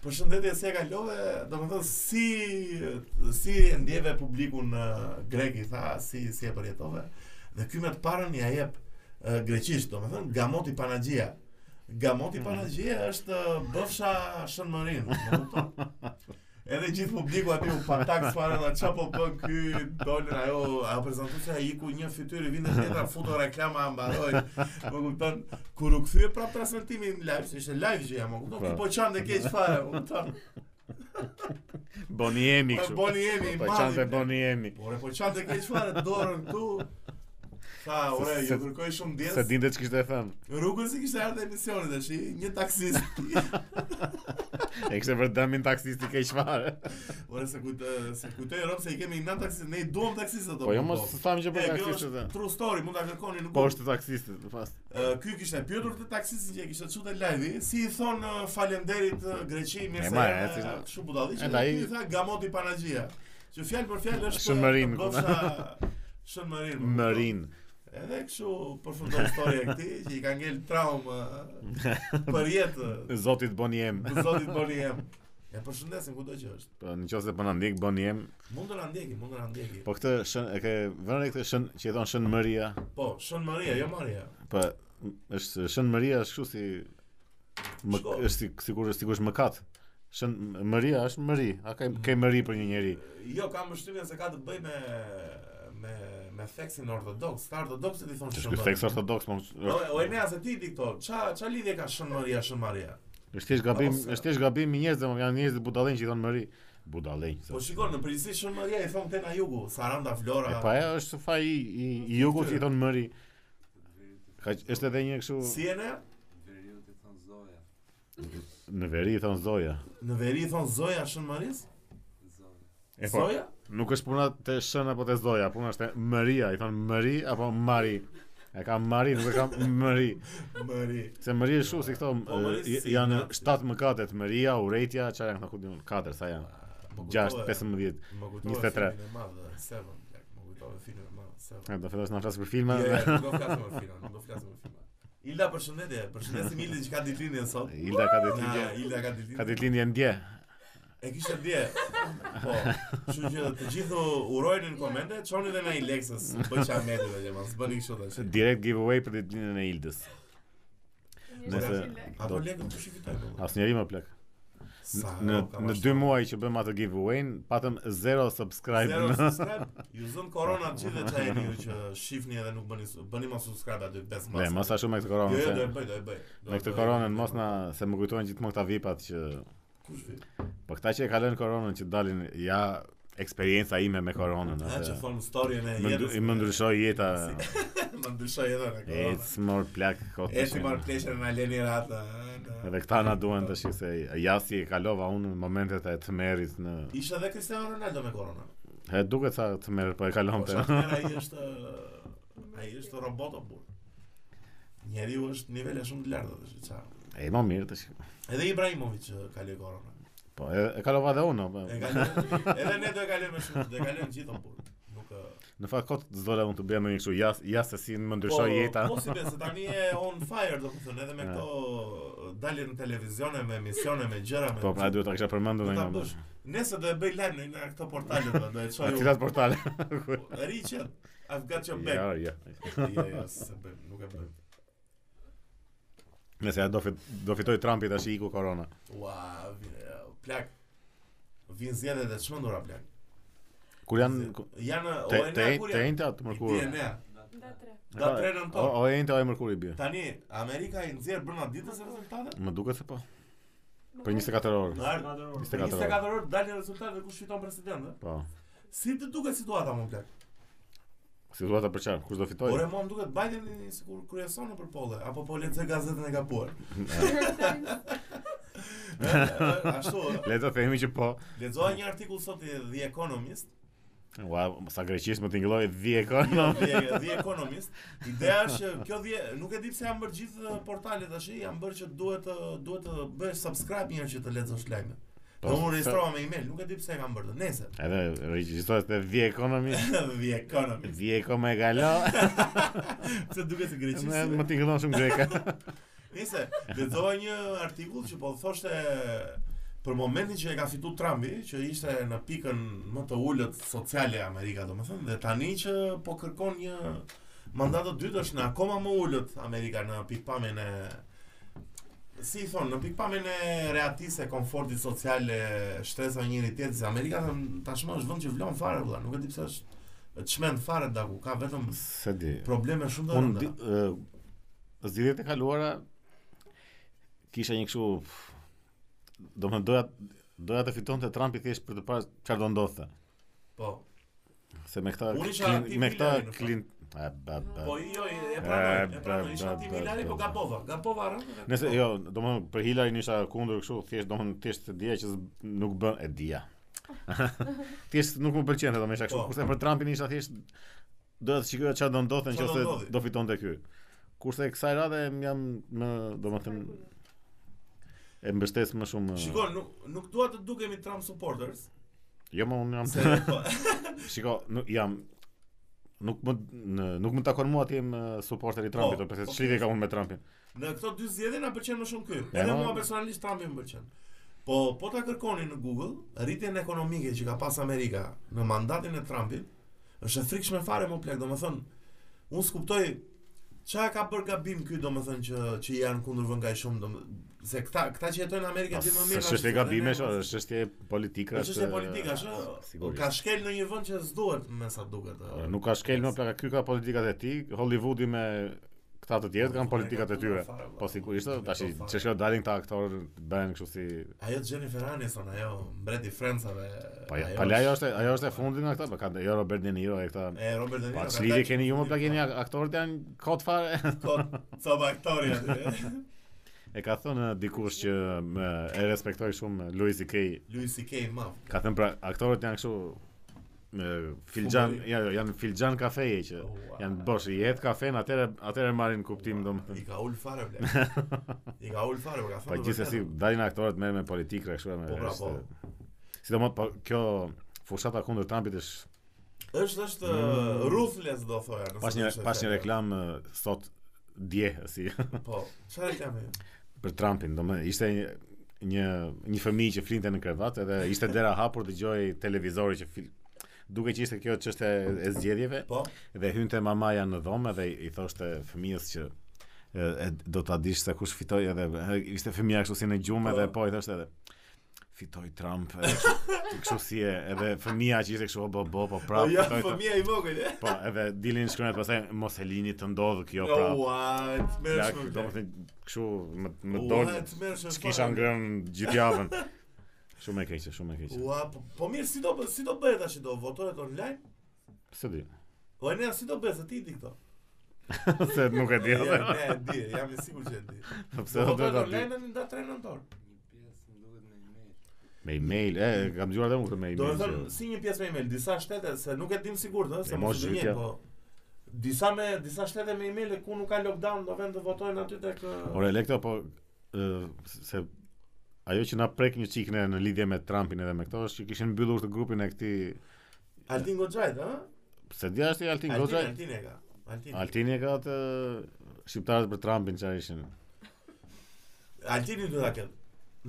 S2: Përshëndetje se e kalove, domethënë si si e ndjeve publikun ë, grek i tha, si si e përjetove. Dhe ky me të parën ja jep ë, greqisht, domethënë gamoti panagjia. Gamoti panagjia është ë, bëfsha shënmërin, e kupton? Edhe gjithë publiku aty u patak s'fare dhe qa po bën ky dolën ajo a prezantuesja i ku një fytyrë vinte tjetra futo reklama mbaroi. Më kupton kur u kthye prap transmetimi në live, se ishte live gjëja, më kupton? Ku po çan dhe keq fare, më kupton?
S1: Boni jemi
S2: Po
S1: kështu.
S2: boni jemi i
S1: Po
S2: madh.
S1: çante boni jemi.
S2: Po ore, po çan dhe keq fare dorën këtu. Tha, ore,
S1: Se-
S2: ju kërkoj shumë
S1: Se
S2: djes.
S1: dinte ç'kishte e thënë.
S2: Rrugën si kishte ardhur emisioni tash, një taksist.
S1: E kishte për dëmin taksisti keq fare.
S2: Ore, se kujtë, se kujtoj Rob se i kemi një taksist, ne i duam taksistët ato.
S1: Po jo
S2: më
S1: mos
S2: kupton.
S1: tham që
S2: E,
S1: për
S2: kjo
S1: taksistët.
S2: është
S1: e.
S2: true story, mund ta kërkoni në
S1: Po
S2: Google.
S1: është taksistët, në fakt.
S2: Ë, Ky kishte pyetur te taksisti që e kishte çuar live, si i thon ë, falemderit ë, Greqi, mirë
S1: E,
S2: se
S1: ma,
S2: erdhe,
S1: e, si-
S2: kështu budalliqe.
S1: E,
S2: dhe
S1: da, i-
S2: Ky i tha gamoti panagjia. Që fjalë për fjalë është
S1: Shënmërin, ku-
S2: Bofsha shënmërin. po.
S1: Mërin.
S2: Edhe kështu përfundon historia e këtij që i ka ngel traumë ë, për jetë
S1: Zoti të boni jem.
S2: ë, zotit Boni Em. E përshëndesim kudo që është.
S1: Po nëse po na ndjek boni jem.
S2: Mund të na ndjeki, mund të na ndjeki.
S1: Po këtë shën e ke vënë këtë shën që i thon shën Maria.
S2: Po, Shën Maria, jo Maria.
S1: Po m- është shën Maria është kështu si më
S2: Shko.
S1: është si sikur sikur është mëkat. Shën Maria është Mari, a ka ke Mari për një njeri.
S2: Jo, kam përshtypjen se ka të bëj me me me theksin ortodoks. Ka ortodoksët i thonë
S1: Është
S2: shënmëri.
S1: ky theks ortodoks, më
S2: O, o e nea se ti di këto. Ça ça lidhje ka Shën Maria, Shën Maria?
S1: është thjesht gabim,
S2: Ose-
S1: është thjesht gabim i njerëzve, më kanë njerëz budallënj që i thon Mari. Budallënj.
S2: Po
S1: se-
S2: shikon në përgjithësi Shën Maria i thonë këtej na jugu, Saranda
S1: E
S2: Flora.
S1: pa ajo është fa i i, i jugut që i thon Mari. Ka është edhe një kështu
S2: Si e ne?
S3: Veriut i thon Zoja,
S1: në veri i thon Zoja.
S2: Në veri i thonë Zoja Shën Maris?
S3: Zoja.
S1: E po,
S2: Zoja?
S1: Nuk është puna te shën apo te zoja, puna është te Maria, i thon Mari apo Mari. E ka Mari, nuk e ka Mari.
S2: Mari.
S1: Se Mari është shumë si këto
S2: Po, Mari
S1: e,
S2: si-
S1: janë 7 mëkatet, Maria, urrejtja, çfarë janë këto ku diun? 4 sa janë.
S2: Më
S1: 6,
S2: kujtove-
S1: 15.
S2: Më kujtove
S1: 23.
S2: filmin e madh, Seven. plak, Më kujtove filmin e madh, Seven.
S1: E, do fillosh na flas për filma.
S2: Jo, jo, nuk do flasim për filma, nuk do flasim për filma. Ilda, përshëndetje. Përshëndesim Ilda që ka ditëlindjen sot.
S1: Ilda ka
S2: Na,
S1: ditëlindje.
S2: Ilda ka ditëlindjen.
S1: Ka ditëlindje ndje.
S2: E kishte dje. Po. Kështu që të gjithë u- urojnë në komente, çoni edhe në Ilexës, bëj çameti dhe jema, s'bëni kështu tash.
S1: Direkt giveaway për ditëlindjen e Ildës. Nëse
S2: Apo
S1: do
S2: lekë kush i fitoi po?
S1: asnjëri më plak.
S2: Sa
S1: Në
S2: ka
S1: në
S2: vazhdo.
S1: 2 muaj që bëmë atë giveaway, patëm 0 subscribe.
S2: Zero subscribe. Ju zëm korona të gjithë çaj ju që shihni edhe nuk bëni bëni mos subscribe aty bes mas.
S1: Ne, mos ashtu me këtë
S2: Jo,
S1: koronën.
S2: jo, do e
S1: se-
S2: bëj, do e bëj. Do
S1: Me
S2: e
S1: këtë
S2: bëj.
S1: koronën mos na se më kujtojnë gjithmonë këta vipat që
S2: Kush vi?
S1: po këta që e kalojnë koronën që dalin ja eksperjenca ime me koronën
S2: Na që
S1: atë.
S2: fon storyn
S1: Më
S2: e
S1: ndry-
S2: jetës.
S1: i Më ndryshoi jeta.
S2: Më ndryshoi jeta në korona.
S1: It's more plak kot.
S2: Eci
S1: ishin.
S2: marr pleqën na leni ratë.
S1: Edhe këta na duhen tash se ja si e kalova unë në momentet e tmerrit në
S2: Isha edhe Cristiano Ronaldo me korona.
S1: e duket sa tmerr po e kalon
S2: Po
S1: te.
S2: Shakira ai është ai është robot apo? Njeriu është nivele shumë të larta tash, ça.
S1: E më mirë tash.
S2: Edhe Ibrahimovic ë, ka lë korona.
S1: Po e, e kalova edhe unë. po.
S2: E ka lë- edhe ne do e kalojmë më shumë, do e kalojmë gjithë apo. Nuk ë,
S1: Në fakt kot zdola unë të bëja ndonjë kështu ja ja se si më ndryshoi jeta.
S2: Po si besë tani e on fire do të thonë edhe me
S1: Ja.
S2: këto dalje në televizione me emisione me gjëra me.
S1: Po pra duhet ta kisha përmendur
S2: do ta
S1: ndonjë.
S2: bësh. Nëse do e bëj live në një nga këto portale do do e
S1: Në
S2: çoj.
S1: cilat portale?
S2: unë. Richard, I've got your
S1: Ja,
S2: back.
S1: ja.
S2: Jo, jo, s'e bëjmë, nuk e bëjmë.
S1: Nëse ja do, fit, do fitoj Trumpi tash i iku korona.
S2: Ua, vi- e, plak. Vinë zgjedhjet e çmendura plak.
S1: Kur janë ku-
S2: janë
S1: te
S2: o e
S1: te
S2: nea kur
S1: te
S2: janë.
S1: enta të
S2: Mërkur.
S1: mërkur.
S2: Da tre nëntor.
S1: O e enta e mërkur i bie.
S2: Tani Amerika i nxjerr brenda ditës e rezultate?
S1: Më duket se po. Për 24
S2: Në
S1: orë.
S2: ardhmë
S1: 24 orë.
S2: 24 orë dalin rezultatet kush fiton presidentin.
S1: Po.
S2: Si të duket situata më plak?
S1: Situata për çfarë? Kush do
S2: Ore
S1: fitoj?
S2: mua më duket Biden i sikur kryeson nëpër polle, apo po lexoj gazetën e gabuar. Ë, ë, Ashtu, ë.
S1: Le të themi po. që po.
S2: lexova një artikull sot i The Economist
S1: Ua, sa greqisht më tingëlloi 10 ekonom.
S2: The, the Economist. Ideja është që kjo dhe nuk e di pse janë bërë gjithë eh, portalet tash, janë bërë që duhet të duhet të bësh subscribe një herë që të lexosh lajmet.
S1: Po,
S2: Do unë registrova me email, nuk e di pse e kam bërë. të. Nëse
S1: Edhe regjistrohet te The Economy.
S2: The Economist,
S1: The Economy e galo.
S2: pse duket se
S1: Më
S2: greqisht.
S1: më tingëllon shumë greka.
S2: Nëse lexova një artikull që po thoshte për momentin që e ka fitu Trumpi, që ishte në pikën më të ullët sociale e Amerika, domethënë, dhe tani që po kërkon një mandat të dytë është në akoma më ullët Amerika në pikpamjen e si i thonë, në pikpamjen e reatisë e komfortit social e shtresa e njëri tjetrit, se Amerika thënë, tashmë është vend që vlon fare vëlla, nuk e di pse është çmend fare daku, ka vetëm
S1: Se di.
S2: probleme shumë të
S1: Unë
S2: rënda.
S1: di- ë, zgjidhjet e kaluara kisha një kështu do më doja doja të fitonte Trumpi thjesht për të parë çfarë do ndodhte.
S2: Po,
S1: Se me këta
S2: Unë isha
S1: Clin-
S2: anti
S1: me këta
S2: Hillary, në fakt.
S1: Clint a, ba, ba.
S2: Po jo, e
S1: E,
S2: pranoj, e
S1: ba,
S2: pranoj, isha
S1: ba,
S2: anti
S1: ba,
S2: Milani,
S1: ba,
S2: po
S1: ba.
S2: Gapova, Gapova rënë.
S1: Nëse jo, domethënë për Hillary isha kundër kështu, thjesht domethënë thjesht të dija që z- nuk bën e dija. thjesht nuk më pëlqente domethënë isha kështu.
S2: Po.
S1: Kurse për Trumpin isha thjesht doja të shikoja çfarë do ndodhte
S2: Çfarë do
S1: nëse
S2: ndodhi?
S1: do fitonte ky. Kurse kësaj radhe jam më domethënë e mbështes më shumë. ë,
S2: Shikoj, nuk nuk dua të dukemi Trump supporters.
S1: Jo, më unë jam
S2: Se po,
S1: Shiko, nuk jam nuk më në- nuk më takon mua të jem ë, supporter i Trumpit,
S2: Po,
S1: oh, përse
S2: po,
S1: çlidhje kam unë me Trumpin.
S2: në këto dy zgjedhje na pëlqen më shumë ky.
S1: Ja,
S2: Edhe
S1: ma-
S2: mua personalisht Trumpi më pëlqen. Po, po ta kërkoni në Google rritjen ekonomike që ka pas Amerika në mandatin e Trumpit, është e frikshme fare më plak, domethënë unë skuptoj çka ka bërë gabim ky domethënë që që janë kundër vën kaq shumë domethënë se këta këta që jetojnë në Amerikë
S1: Po,
S2: e dinë më mirë.
S1: Është
S2: na
S1: çështje
S2: që
S1: gabimesh,
S2: ne-
S1: është çështje politike.
S2: Është çështje politike, është
S1: sigurisht.
S2: ka shkel në një vend që s'duhet me sa duket. ë.
S1: Nuk ka shkel më plaka ky ka politikat e tij, Hollywoodi me këta të tjerë kanë politikat e tyre.
S2: Fare, valla.
S1: Po sigurisht,
S2: Nuk e
S1: tash që
S2: kupton fare.
S1: shkjo dalin këta aktorë bëhen kështu si
S2: Ajo Jennifer Aniston, ajo mbreti Francave.
S1: Po ja, pala ajo është ajo është e fundit nga këta, po kanë jo Robert De Niro e këta.
S2: E Robert De Niro.
S1: Po
S2: ka
S1: çlidhje
S2: dalë
S1: keni ju më
S2: që-
S1: plakeni ak- aktorët janë kot fare.
S2: Kot, sa aktori aty.
S1: E ka thënë dikush që me, e respektoj shumë Louis C.K.
S2: Louis C.K. ma.
S1: Ka thënë pra aktorët janë kështu me filxhan,
S2: Fumbari.
S1: janë janë filxhan kafeje që
S2: Ua.
S1: janë bosh i et kafen, atëre atëre marrin kuptim domethënë.
S2: I ka ul fare bler. I ka ul fare, por ka
S1: Po
S2: thënë.
S1: gjithsesi dalin aktorët merren me politikë kështu me.
S2: Po, pra, po.
S1: Sidomos po kjo fushata kundër Trumpit është
S2: Po, Është është uh, ruthless do thoja. nëse
S1: Mm. pas një
S2: ishte
S1: pas një
S2: serio.
S1: reklam eh, sot dje si
S2: Po, çfarë reklamë?
S1: për Trumpin, domethënë ishte një një një fëmijë që flinte në krevat edhe ishte dera hapur dëgjoi televizorin që fil duke që ishte kjo çështje e- e zgjedhjeve
S2: Po,
S1: dhe hynte mamaja në dhomë dhe i thoshte fëmijës që e, e, do ta dish se kush fitoi edhe e, ishte fëmia kështu si në gjumë dhe po i thoshte edhe fitoi Trump e, kështu- kështu si e edhe fëmia që ishte kështu o bo bo po
S2: po
S1: prapë
S2: ja
S1: fitoi Trump."
S2: fëmia i vogël. e?
S1: po edhe dilin shkruan pastaj mos e lini të ndodh kjo prapë
S2: Ua, të
S1: Jo, pra. Ja,
S2: mërshme.
S1: do të kështu më më
S2: Ua,
S1: dol
S2: të mërshme
S1: ç'kisha
S2: fare.
S1: ngrënë gjithë javën shumë e keqe shumë e keqe
S2: Ua, po, po mirë, si do bë- si do bëhet tash do votohet online?
S1: se di
S2: Po e ne si do bëhet se ti i di këto?
S1: se nuk e di
S2: Ja,
S1: edhe
S2: ne e di, jam i sigurt që e di.
S1: pse
S2: Se
S1: do të
S2: votohet
S1: ta di
S2: Po, online në datë 3 nëntor.
S3: Një pjesë më duhet me email.
S1: me email e kam dëgjuar edhe unë këtë me
S2: Do
S1: email
S2: të
S1: që-
S2: thënë si një pjesë me email, disa shtete se nuk e dim sigurt ë,
S1: E
S2: se
S1: mos
S2: mos e di
S1: zhytja.
S2: mirë, po disa me disa shtete me email e ku nuk ka lockdown do vend të votojnë aty tek ë,
S1: Ore Lekto, po ë, se ajo që na prek një çik ne në lidhje me Trumpin edhe me këto është që kishin mbyllur të grupin e këtij
S2: Altin Goxhajt, ë?
S1: se dia është i Altin
S2: Altin,
S1: Goxha.
S2: Altin e ka. Altin.
S1: Altini e ka atë shqiptarët për Trumpin çfarë ishin.
S2: Altini do ta ketë.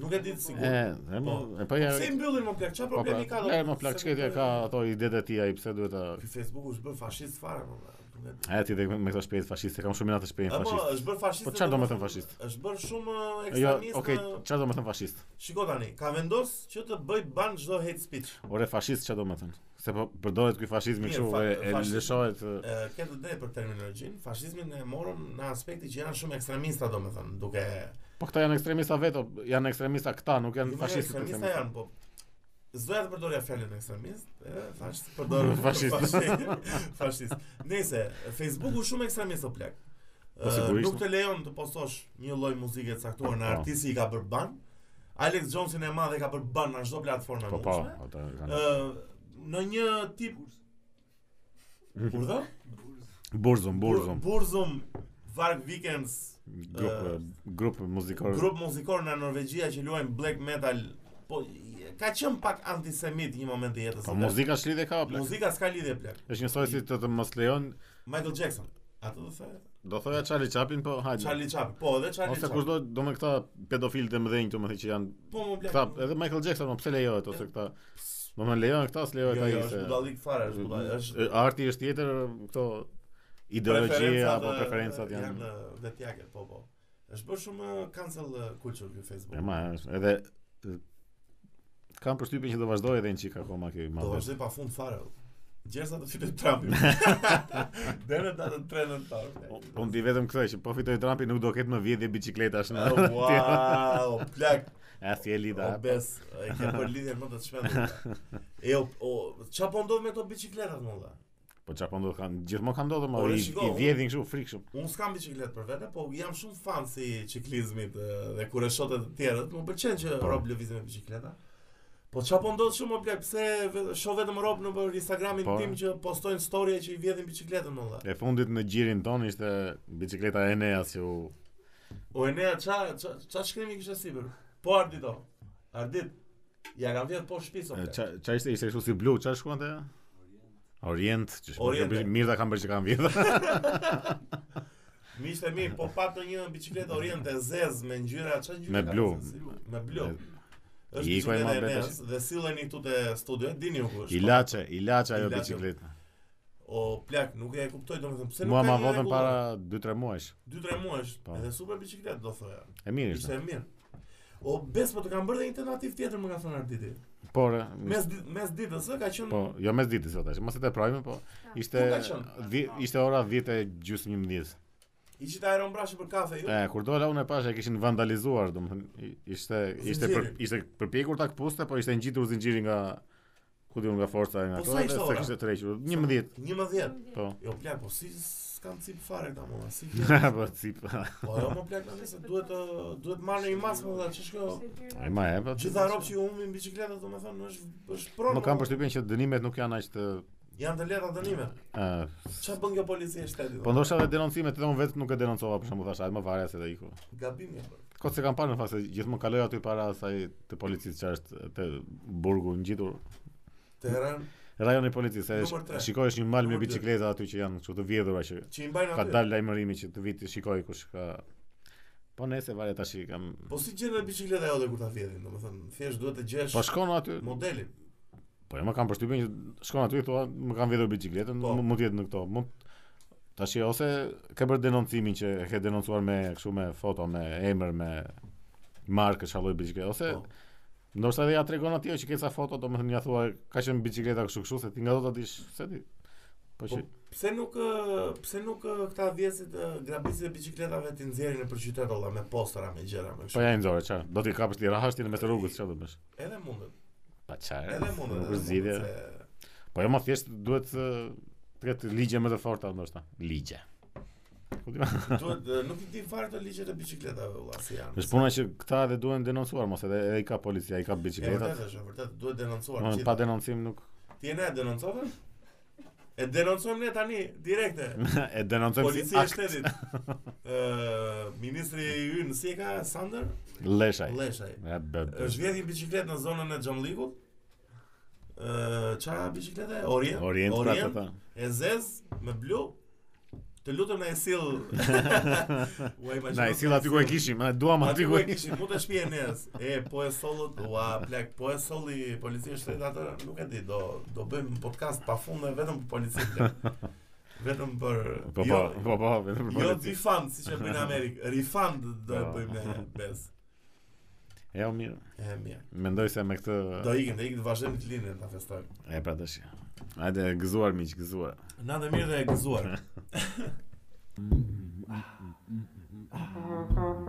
S2: Nuk e di të
S1: E,
S2: sigurt.
S1: e po,
S2: Po.
S1: e po ja.
S2: Pse i mbyllin më plak? Çfarë
S1: Po pra,
S2: problemi ka? do-
S1: e më plak
S2: se
S1: çka
S2: nuk e-
S1: ka ato idetë e tij ai pse duhet ta
S2: Ky Facebooku është bërë fashist fare, më valla, nuk e di.
S1: E ti dhe me këto shpejt fashiste, kam shumë natë shpejt
S2: Apo
S1: fashist.
S2: është bërë fashist.
S1: Po çfarë do me thënë
S2: domethënë,
S1: fashist?
S2: Është bërë shumë uh,
S1: Jo,
S2: ekstremist.
S1: okay,
S2: në-
S1: çfarë do të thënë fashist?
S2: Shiko tani, ka vendos që të bëj ban çdo hate speech.
S1: Ore fashist çfarë do të thënë? Se po përdoret ky fashizmi
S2: Mirë,
S1: kështu
S2: fa-
S1: e, e
S2: fashizmi.
S1: lëshohet e,
S2: Ë, Ke të drejtë për terminologjinë, fashizmin e morëm në aspektin që janë shumë ekstremista domethënë, duke
S1: Po këta janë ekstremista veto, janë ekstremista këta, nuk
S2: Jo,
S1: janë
S2: mirë,
S1: fashistët.
S2: ekstremista
S1: ekstremistë.
S2: janë, po Zdoja të përdorja fjalën ekstremist, e, fashist, përdor
S1: Fashist.
S2: fashi- fashist. Nëse Facebooku shumë ekstremist o plak.
S1: Po,
S2: Ë,
S1: sigurisht.
S2: Nuk të lejon të postosh një lloj muzike të caktuar
S1: Po.
S2: në artisti i ka bërë ban. Alex Jonesin e madhe ka bërë ban në çdo platformë e
S1: Po po,
S2: mundshme.
S1: ata kanë.
S2: Ë, në një tip urdhë?
S1: Burzum, Burzum.
S2: Burzum Varg Weekends,
S1: Grup,
S2: Eh,
S1: grup muzikor.
S2: grup muzikor nga Norvegjia që luajnë black metal, po i- ka qenë pak antisemit një moment i jetës.
S1: Po
S2: së vet.
S1: muzika shlidhe ka plak.
S2: Muzika s'ka lidhje plak.
S1: Është njësoj si të të mos lejon,
S2: Michael Jackson. Atë do thë
S1: do thoja Charlie Chaplin, po hajde.
S2: Charlie Chaplin. Po, edhe Charlie
S1: Ose
S2: Chaplin.
S1: kushdo, do me këta pedofilë të mëdhenj, të më thënë që janë
S2: Po, më
S1: këta,
S2: plak.
S1: edhe Michael Jackson, më pse lejohet ose këta. Do me lejohen këta,
S2: Jo,
S1: s'lejohet
S2: jo,
S1: ai
S2: është
S1: se.
S2: budallik fare, është budallik. Është
S1: Ë, Arti është tjetër këto ideologjia
S2: preferencat,
S1: apo
S2: eh,
S1: preferencat janë.
S2: janë vetjake, po, po. Është bërë shumë eh, cancel eh, culture ky
S1: Po,
S2: Facebook.
S1: E ma, është, edhe ë, kam përshtypjen që do vazhdojë edhe në çik akoma ky
S2: Do
S1: mallë.
S2: vazhdoj pa fund fare. Gjersa të fitet Trumpi. Deri në datën 3 nëntor.
S1: Unë di vetëm këtë që po fitoj Trumpi nuk do ketë më vjedhje biçikletash në.
S2: Oh, wow, plak,
S1: As je lida.
S2: o bes, e ke për lidhjen më të shpendur. E o, o çfarë po ndodh me ato bicikletat më valla?
S1: Po çfarë po ndodh kanë gjithmonë kanë ndodhur më
S2: Ore,
S1: i,
S2: Po, shiko,
S1: i vjedhin kështu frikshëm.
S2: Unë s'kam bicikletë për vete, po jam shumë fan si ciklizmit ë, dhe kur e shoh të tjerët, më pëlqen që
S1: Po.
S2: rob lëvizin me bicikleta. Po çfarë po ndodh shumë o blek, pse ve- shoh vetëm rob në për Instagramin
S1: Po.
S2: tim që postojnë story që i vjedhin bicikletën më valla.
S1: E fundit në gjirin ton ishte bicikleta e Eneas që u
S2: O Enea, qa, qa, qa shkrimi kështë sipër? Po Ardito, Ardit, ja kam vjetë po shpiso.
S1: e, qa qa ishte ishte kështu si blu, çfarë shkuante? Orient, që
S2: Oriente.
S1: shkuante mirë ta kanë bërë që kanë vjedhur.
S2: Mi ishte mi, po patë një bicikletë orient e zezë me ngjyra, qa ngjyra?
S1: Me
S2: ka
S1: blu.
S2: zezë? Me blu. është
S1: I ikoj
S2: bicikletë
S1: ma
S2: e
S1: bete
S2: Eneas dhe silleni këtu te studio, e dini ju ku është. po.
S1: Ilaçe, ilaçe ajo
S2: Ilaçe.
S1: bicikletë.
S2: O plak, nuk e kuptoj domethënë pse nuk
S1: Mua
S2: ka. po.
S1: ma
S2: një
S1: votën
S2: rregull?
S1: para 2-3 muajsh.
S2: 2-3 muajsh,
S1: Po.
S2: edhe super bicikletë do thoja.
S1: E mirë
S2: Ishte
S1: ishte.
S2: e mirë. O bes po të kam bërë dhe një tentativë tjetër më ka thënë Arditi.
S1: Por e,
S2: Mes dit- mes ditës ë ka qenë
S1: po jo mes ditës sot tash, mos e teprojmë, po ishte
S2: Ku ka qenë?
S1: dhi- ishte ora 10 e gjysmë 11.
S2: i qita Iron Brush për kafe jo? ju.
S1: E, kur dola unë e pasha e kishin vandalizuar, domethënë i- ishte ishte për,
S2: Zinxhirin.
S1: ishte përpjekur ta kpuste, po ishte ngjitur zinxhiri nga ku diun nga forca e nga
S2: Po, sa ishte
S1: se
S2: ora?
S1: kishte tërhequr. 11,
S2: 11.
S1: po.
S2: Jo plak, po si s'kam cip fare këta mua, si vjen?
S1: po cip.
S2: Po jo më plak tani se duhet ë, duhet marr në një mas më dha ç'shko. jo.
S1: Ai më e po.
S2: Gjitha rob që po. ju humbin biçikletat domethënë është është pronë.
S1: Më kam përshtypjen që dënimet nuk janë aq të
S2: janë të lehta dënime.
S1: ë,
S2: Ç'a bën kjo policia e shtetit?
S1: po ndoshta edhe denoncimet edhe unë vetë nuk e denoncova për shembull thash, ai më varja se do iku.
S2: gabim e bërë.
S1: Kot se kam parë në fakt se gjithmonë kaloj aty para asaj të policisë që është te burgu ngjitur.
S2: Teheran
S1: Rajoni i policisë, se
S2: Numër tre.
S1: sh- shikoj është një mal me
S2: Numër dy.
S1: bicikleta aty që janë kështu të vjedhura që
S2: që i mbajnë
S1: Ka
S2: aty.
S1: dalë lajmërimi që të viti shikoj kush ka Po nëse varet tash i kam
S2: Po si gjen biçikleta jote kur ta vjedhin, domethënë thjesht duhet të gjesh
S1: Po shkon aty
S2: modelin.
S1: Po jo më kam përshtypjen që shkon aty thua më kanë vjedhur bicikletën
S2: Po.
S1: mu- mund të jetë në këto mund Tash ose ke bërë denoncimin që e ke denoncuar me kështu me foto me emër me markë shalloj bicikletë ose
S2: Po.
S1: ndoshta edhe ja tregon atij që ke ca foto domethënë ja thua ka qenë bicikleta kështu kështu se ti nga do ta dish se ti Po
S2: Po
S1: që
S2: pse nuk ë, pse nuk ë, këta vjesit grabicit e biçikletave ti nxjerrin nëpër qytet olla me postera me gjëra me
S1: po
S2: kështu.
S1: ja i nxorë çfarë do ti kapësh ti rahash ti në mes të rrugës çfarë do bësh
S2: Edhe mundet.
S1: Pa çfarë
S2: Edhe mundet.
S1: nuk
S2: edhe
S1: është zgjidhje
S2: mundet, se-
S1: Po jo më thjesht duhet të të ketë ligje më të forta ndoshta. Ligje. Po di ma.
S2: Duhet e, nuk i di fare të ligjet e biçikletave vëlla si janë.
S1: Është puna që këta edhe duhen denoncuar mos edhe edhe i ka policia, i ka
S2: E vërtet
S1: biçikletat.
S2: është, e vërtet duhet denoncuar.
S1: Domethënë Po,
S2: gjithë.
S1: pa denoncim nuk
S2: Ti e ne e denoncove? E denoncojmë ne tani direkte.
S1: e denoncojmë si
S2: Policia e
S1: akt
S2: shtetit. Ë ministri ynë si e ka Sander
S1: leshaj.
S2: Leshaj.
S1: Ja be. be.
S2: Është vjedhje bicikletë në zonën e Xhamllikut. Ë çfarë biciklete? Orient.
S1: Orient pra të ta.
S2: E zez me blu. Të lutem na e sill. Uaj ma
S1: Na i sill aty ku e kishim, e duam aty
S2: Aty
S1: ku
S2: ku
S1: e
S2: e
S1: kishim.
S2: kishin, mund të shpije nes. E, po e sollët, ua, plak, po e solli policia shtetit atë, nuk e di, do do bëjmë podcast pa fund dhe vetëm për policinë. plak. Vetëm për
S1: Po po, po po, vetëm për
S2: Jo
S1: polici.
S2: refund siç e bëjnë në Amerikë, refund do e
S1: Po.
S2: bëjmë ne bes.
S1: Jo mirë.
S2: E mirë.
S1: Mendoj se me këtë
S2: Do ikim, do ikim të vazhdojmë të lindën ta festojmë.
S1: e pra tash. Hajde gëzuar miq, gëzuar.
S2: Na të mirë dhe e gëzuar.
S4: Mm-hmm.